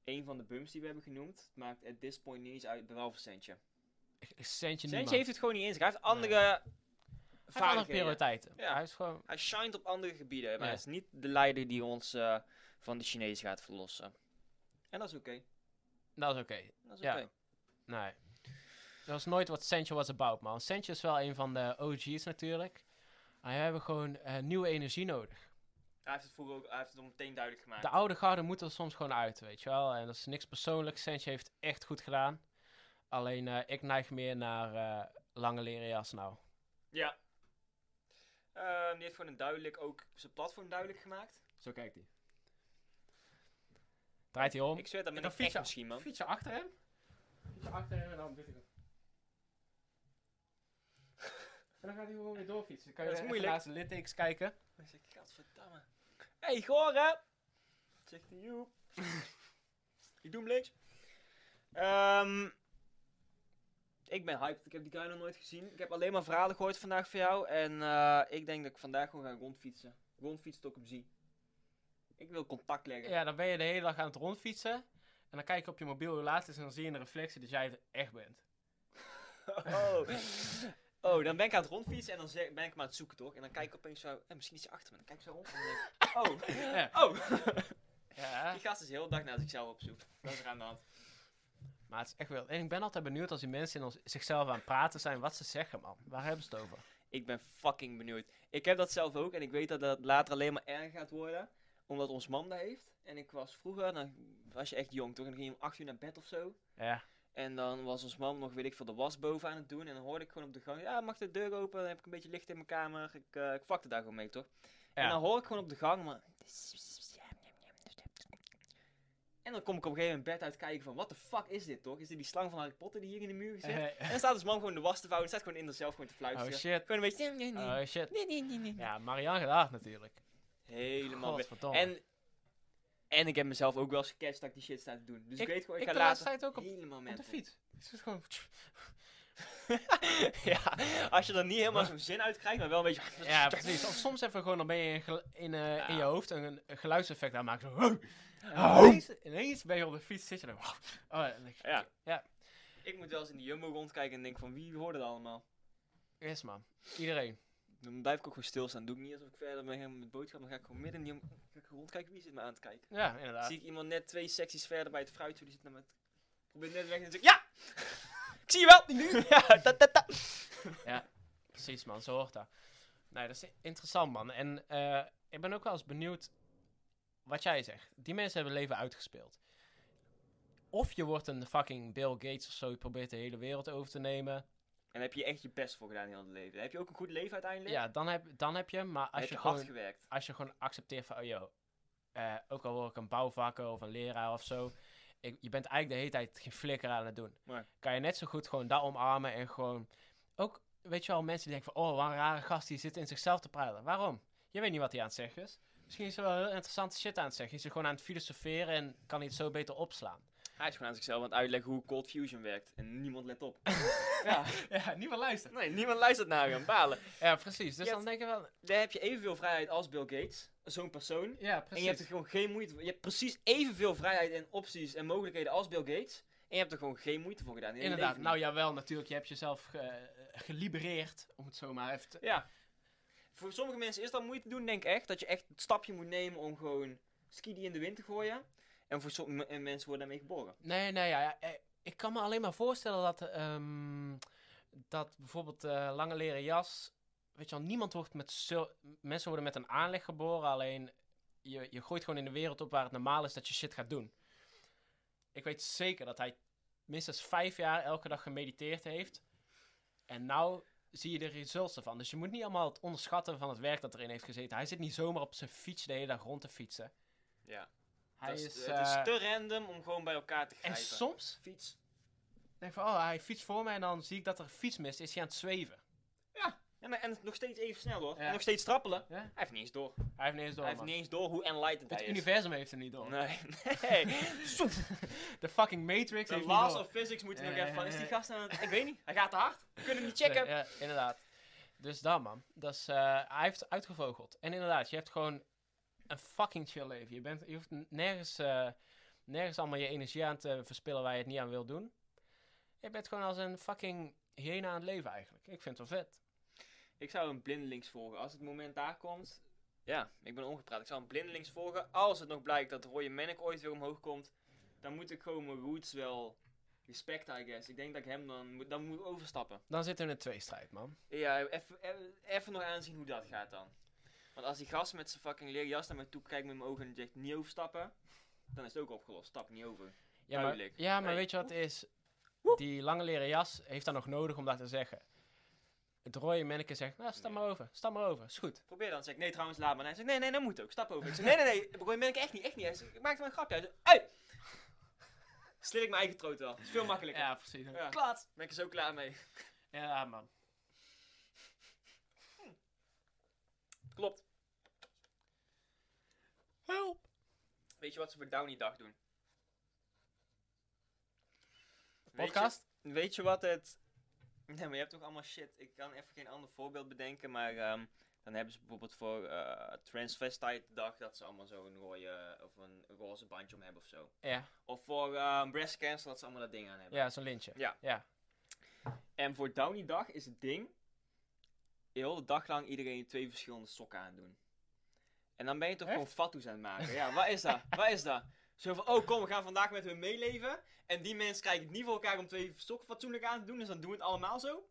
Een van de bums die we hebben genoemd, het maakt at this point niet eens uit, behalve Centje.
Een Centje niet,
Centje heeft het gewoon niet eens. Hij heeft andere
Hij heeft andere
vaardigheden.
prioriteiten.
Ja.
Hij is gewoon...
Hij shined op andere gebieden, maar
Ja.
hij is niet de leider die ons eh, van de Chinezen gaat verlossen. En dat is oké.
Dat is oké.
Dat is
Ja.
oké.
Nee. Dat was nooit wat Sancho was about, man. Sancho is wel een van de OG's natuurlijk. Maar we hebben gewoon eh, nieuwe energie nodig.
Hij heeft het vroeger ook, hij heeft het al meteen duidelijk gemaakt.
De oude garde moet er soms gewoon uit, weet je wel. En dat is niks persoonlijks. Sancho heeft echt goed gedaan. Alleen eh, ik neig meer naar eh, lange leren jas nou.
ja. Ehm, die heeft gewoon een duidelijk, ook zijn platform duidelijk gemaakt.
Zo kijkt hij. Draait hij om.
Ik zweer dat met
dan
een
fiets
fiets
je-
misschien, man.
Fiets je achter hem? Fiets je achter hem en dan doet hij dat. En dan gaat hij gewoon weer doorfietsen. Kan
je
je
even
moeilijk.
naar
naast de littekens kijken.
Hij zegt, gadverdamme. Hé, hey, goor, hè? Zegt hij, joep. Ik doe hem links. Ehm, ik ben hyped. Ik heb die guy nog nooit gezien. Ik heb alleen maar verhalen gehoord vandaag van jou. En eh, ik denk dat ik vandaag gewoon ga rondfietsen. Rondfietsen tot ik hem zie. Ik wil contact leggen.
Ja, dan ben je de hele dag aan het rondfietsen. En dan kijk je op je mobiel hoe laat het is en dan zie je in de reflectie dat jij er echt bent.
Oh. oh, dan ben ik aan het rondfietsen en dan zeg- ben ik hem aan het zoeken, toch? En dan kijk ik opeens zo, eh, misschien is hij achter me. Dan kijk ik zo rond en dan denk ik,
Ja.
oh, oh.
Ja.
Die gast is de hele dag naar zichzelf op zoek. Dat is er aan de hand.
Maar het is echt wel... En ik ben altijd benieuwd als die mensen in ons, zichzelf aan het praten zijn, wat ze zeggen, man. Waar hebben ze het over?
Ik ben fucking benieuwd. Ik heb dat zelf ook en ik weet dat dat later alleen maar erger gaat worden. Omdat ons man dat heeft. En ik was vroeger, dan was je echt jong toch? En dan ging je om 8 uur naar bed of zo.
Ja.
En dan was ons man nog, weet ik veel, de was boven aan het doen. En dan hoorde ik gewoon op de gang, ja, mag de deur open? Dan heb ik een beetje licht in mijn kamer. Ik, eh ik vakte daar gewoon mee, toch? En
Ja.
dan hoor ik gewoon op de gang, maar... En dan kom ik op een gegeven moment bed uit kijken van, wat de fuck is dit, toch? Is dit die slang van Harry Potter die hier in de muur zit? En dan staat ons man gewoon de was te vouwen. En staat gewoon in zichzelf gewoon te
Eh, oh
fluisteren.
shit.
Gewoon een beetje...
Oh shit.
Nee, nee, nee, nee.
Ja, Marianne gedaan natuurlijk.
Helemaal weg.
Godverdomme.
En, en ik heb mezelf ook wel eens gecatcht dat ik die shit sta te doen. Dus ik,
Ik-
weet gewoon,
ik
ik ga
de laatste
later
tijd ook op-
helemaal
Op de
mental.
fiets. Ik zit gewoon...
ja, als je er niet helemaal zo'n zin uit krijgt, maar wel een beetje...
Ja, precies. Of soms even gewoon, dan ben je in, gel- in, eh, in je hoofd een, een geluidseffect aanmaken. Zo, Oh.
Ja.
ineens, ineens ben je op de fiets, zit je dan... Oh, en dan-
Ja.
Ja.
Ik moet wel eens in de Jumbo rondkijken en denk van, wie hoort het allemaal?
Yes, man. Iedereen.
Dan blijf ik ook gewoon stilstaan. Doe ik niet alsof ik verder ben met boodschap, maar ga ik gewoon midden in de Jumbo ga ik gewoon rondkijken. Wie zit me aan het kijken?
Ja, inderdaad.
Zie ik iemand net twee secties verder bij het fruit, die zit naar me... te- Probeer net weg en dan zeg ik, ja! ik zie je wel! Nu! ja, dat, dat, dat.
Precies, man. Zo hoort dat. Nee, dat is i- interessant, man. En eh, ik ben ook wel eens benieuwd wat jij zegt. Die mensen hebben leven uitgespeeld. Of je wordt een fucking Bill Gates of zo, je probeert de hele wereld over te nemen.
En heb je echt je best voor gedaan in heel het leven. Heb je ook een goed leven uiteindelijk?
Ja, dan heb, dan heb je, maar
Als
als
heb je,
je
hard
gewoon...
gewerkt.
als je gewoon accepteert van, oh joh, eh, ook al word ik een bouwvakker of een leraar of zo, ik, je bent eigenlijk de hele tijd geen flikker aan het doen.
Nee.
Kan je net zo goed gewoon dat omarmen en gewoon, ook, weet je wel, mensen die denken van, oh, wat een rare gast, die zit in zichzelf te praten. Waarom? Je weet niet wat hij aan het zeggen is. Misschien is hij wel heel interessante shit aan het zeggen. Is hij gewoon aan het filosoferen en kan hij het zo beter opslaan.
Hij is gewoon aan zichzelf aan het uitleggen hoe Cold Fusion werkt. En niemand let op. ja.
Ja, niemand luistert.
Nee, niemand luistert naar hem. Balen.
Ja, precies. Dus
Je
dan denk je wel,
Daar heb je evenveel vrijheid als Bill Gates. Zo'n persoon.
ja,
En je hebt er
precies.
gewoon geen moeite voor. Je hebt precies evenveel vrijheid en opties en mogelijkheden als Bill Gates. En je hebt er gewoon geen moeite voor gedaan. in je
Inderdaad,
leven
nou jawel, natuurlijk. Je hebt jezelf ge- gelibereerd, om het zo maar even te-
Ja. Voor sommige mensen is dat moeite doen, denk ik echt. Dat je echt het stapje moet nemen om gewoon skiddy in de wind te gooien. En voor sommige mensen worden daarmee geboren.
Nee, nee, ja, ja, eh, ik kan me alleen maar voorstellen dat, ehm, dat bijvoorbeeld eh, lange leren jas, weet je wel, niemand wordt met zul- mensen worden met een aanleg geboren, alleen je, je gooit gewoon in de wereld op waar het normaal is dat je shit gaat doen. Ik weet zeker dat hij minstens vijf jaar elke dag gemediteerd heeft. En nou zie je de results ervan. Dus je moet niet allemaal het onderschatten van het werk dat erin heeft gezeten. Hij zit niet zomaar op zijn fiets de hele dag rond te fietsen.
Ja.
Hij
Dat
is,
het
eh,
is te random om gewoon bij elkaar te
en
grijpen.
soms
Fiets.
denk ik van, oh, hij fietst voor mij en dan zie ik dat er een fiets mist. Is hij aan het zweven?
En, en nog steeds even snel hoor.
Ja.
En nog steeds trappelen.
Ja?
Hij heeft niet eens door.
Hij heeft niet eens door,
hij heeft
man.
niet eens door hoe enlightened
Het
hij is.
universum heeft hem niet door.
Nee, nee.
De fucking Matrix
De
heeft
laws
niet door.
of physics moeten
Ja,
nog
ja,
even van. Is die
ja.
gast aan het... Ik weet niet. Hij gaat te hard. We kunnen hem niet checken.
Nee, ja, inderdaad. Dus dat, man. Dat is, eh, hij heeft uitgevogeld. En inderdaad, je hebt gewoon een fucking chill leven. Je, bent, je hoeft n- nergens, eh, nergens allemaal je energie aan te verspillen waar je het niet aan wil doen. Je bent gewoon als een fucking hyena aan het leven eigenlijk. Ik vind het wel vet.
Ik zou hem blindelings volgen. Als het moment daar komt. Ja, ik ben ongepraat. Ik zou hem blindelings volgen. Als het nog blijkt dat Roye Manic ooit weer omhoog komt. Dan moet ik gewoon mijn roots wel respect, I guess. Ik denk dat ik hem dan moet, dan moet overstappen.
Dan zitten we in een tweestrijd, man.
Ja, even- even even nog aanzien hoe dat gaat dan. Want als die gast met zijn fucking leerjas naar mij toe kijkt met mijn ogen en zegt niet overstappen. Dan is het ook opgelost. Stap niet over.
Ja, maar,
Duidelijk.
ja, maar
Nee.
weet je wat het is?
Woe.
Die lange leren jas heeft dat nog nodig om dat te zeggen. Het rode manneke zegt, nou, stap
Nee.
maar over. Stap maar over, is goed.
Probeer dan. Zeg ik, nee trouwens, laat maar. En hij zegt, nee, nee, dat moet ook. Stap over. Ik zeg, nee, nee, nee. Roy ben ik echt niet, echt niet. Hij zegt, ik maak er maar een grapje uit. Ik zeg, Ui! Slik ik mijn eigen troot wel. is veel makkelijker.
Ja, precies.
Ja.
Klaat.
Ben ik er zo klaar mee.
Ja, man.
Klopt.
Help.
Weet je wat ze voor Downy dag doen? Weet je-
Podcast?
Weet je, wat het... Nee, maar je hebt toch allemaal shit. Ik kan even geen ander voorbeeld bedenken, maar... ehm, dan hebben ze bijvoorbeeld voor eh Transvestite dag dat ze allemaal zo een rode of een roze bandje om hebben of zo.
Ja,
Of voor ehm, breast cancer dat ze allemaal dat ding aan hebben.
ja zo'n lintje.
Ja.
ja.
En voor Downy dag is het ding. Heel de dag lang iedereen twee verschillende sokken aandoen. En dan ben je toch
Echt?
gewoon fatsoes aan het maken. Ja, wat is dat? Wat is dat? Zo van, oh kom, we gaan vandaag met hun meeleven. En die mensen krijgen het niet voor elkaar om twee sokken fatsoenlijk aan te doen. Dus dan doen we het allemaal zo.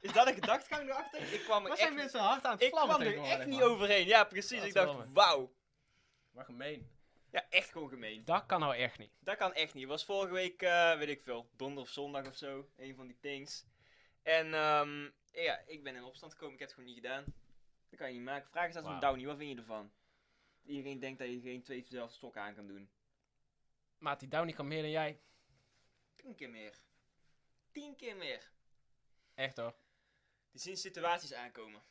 Is dat een gedachtegang erachter? Ik kwam er
Wat
echt,
zijn mensen hard aan het
ik kwam
vlammen
er
tegenwoordig,
echt
man.
niet overheen. Ja, precies.
Dat
Ik
is
dacht,
jammer.
wauw.
Maar gemeen.
Ja, echt gewoon gemeen.
Dat kan nou echt niet.
Dat kan echt niet. Was vorige week, eh, weet ik veel, donderdag of zondag of zo. Een van die things. En ehm, ja, ik ben in opstand gekomen. Ik heb het gewoon niet gedaan. Dat kan je niet maken. Vraag is aan zo'n
Wauw.
Downy. Wat vind je ervan? Iedereen denkt dat je geen twee dezelfde sokken aan kan doen.
Maat, die Downey kan meer dan jij.
Tien keer meer. Tien keer meer.
Echt hoor.
Die zien situaties aankomen.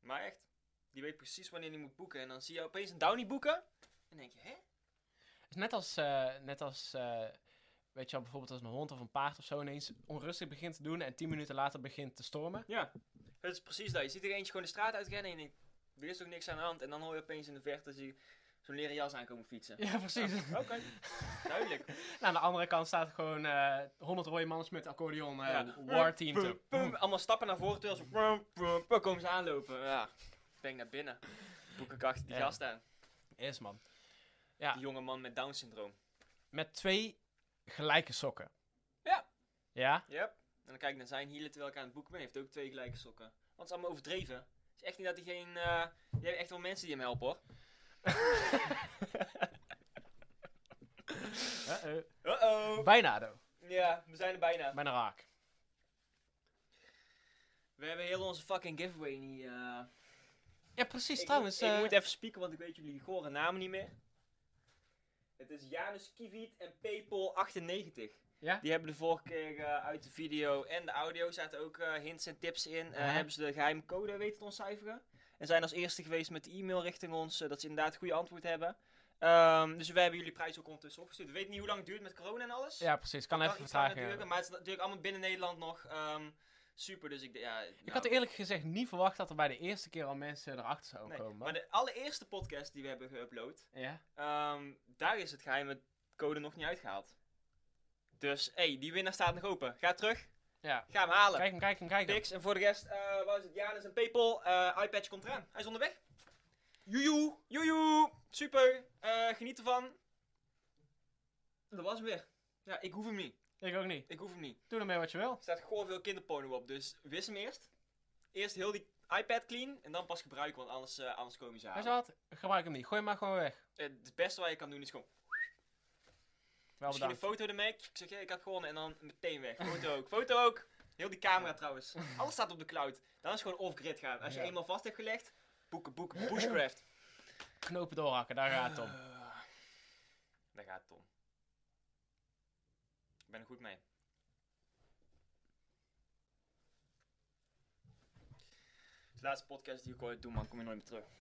Maar echt. Die weet precies wanneer die moet boeken. En dan zie je opeens een Downy boeken. En denk je, hè?
Het is net als, eh, net als eh, weet je wel, bijvoorbeeld als een hond of een paard of zo ineens onrustig begint te doen en tien minuten later begint te stormen.
Ja, het is precies dat. Je ziet er eentje gewoon de straat uitrennen en je denkt, er is toch niks aan de hand. En dan hoor je opeens in de verte zie je zo'n leren jas aankomen fietsen.
Ja, precies.
Ja, Oké, duidelijk.
Nou, aan de andere kant staat gewoon eh 100 rode manners met accordeon eh
Ja.
war team.
Pum, pum, allemaal stappen naar voren, terwijl ze pum, pum, pum, komen ze aanlopen. Ja, ben ik naar binnen. Boek ik achter die
Ja.
gast aan.
Is man.
Die jonge man met Down syndroom.
Met twee gelijke sokken.
Ja.
Ja?
Yep. En dan kijk ik naar zijn hielen terwijl ik aan het boeken ben. Heeft ook twee gelijke sokken. Want het is allemaal overdreven. Het is echt niet dat hij geen... eh je hebt echt wel mensen die hem helpen hoor.
Uh-oh.
Uh-oh.
Bijna, though.
Ja, we zijn er bijna.
Bijna raak.
We hebben heel onze fucking giveaway niet... eh,
Ja, precies.
Ik
trouwens,
moet- Ik,
eh,
moet even spieken, want ik weet jullie gore namen niet meer. Het is Janus Kiviet en Paypal98.
Ja?
Die hebben de vorige keer eh, uit de video en de audio zaten ook eh, hints en tips in. Eh,
Ja.
Hebben ze de geheime code weten te ontcijferen. En zijn als eerste geweest met de e-mail richting ons eh, dat ze inderdaad het goede antwoord hebben. Ehm, dus wij hebben jullie prijs ook ondertussen opgestuurd. We weten niet hoe lang het duurt met corona en alles.
ja, precies. Kan even eh,
Kan iets langer
vertraging hebben.
duren, maar het is Oh, natuurlijk allemaal binnen Nederland nog. ehm, super, dus ik... d- Ja,
Ik had eerlijk gezegd niet verwacht dat er bij de eerste keer al mensen erachter zouden komen.
maar de allereerste podcast die we hebben geüpload,
Ja.
Ehm, daar is het geheime code nog niet uitgehaald. Dus, hé, die winnaar staat nog open. Ga terug,
ja.
ga hem halen.
Kijk hem, kijk hem, kijk hem.
Pix, en voor de rest, eh wat is het? Janus en Paypal. eh iPadje komt eraan. Hij is onderweg. Joejoe. Joejoe. Super. Eh, geniet ervan. Dat was hem weer. Ja, ik hoef hem niet.
Ik ook niet.
Ik hoef hem niet.
Doe ermee wat je wil.
Er staat gewoon veel kinderporno op, dus wis hem eerst. Eerst heel die iPad clean en dan pas gebruiken, want anders, eh, anders komen ze
Hij
aan.
zat, gebruik hem niet. Gooi hem maar gewoon weg.
Het beste wat je kan doen is gewoon
Wel
Misschien een
bedankt.
foto ermee. Ik zeg, ja, ik heb gewonnen. En dan meteen weg. Foto ook. Foto ook. Heel die camera trouwens. Alles staat op de cloud. Dan is gewoon off-grid gaan. Als je
Ja.
eenmaal vast hebt gelegd, boeken, boeken, bushcraft.
Knopen doorhakken, daar gaat het om.
Ah. Daar gaat Tom. Ik ben er goed mee. De laatste podcast die ik ooit doe, man, kom je nooit meer terug.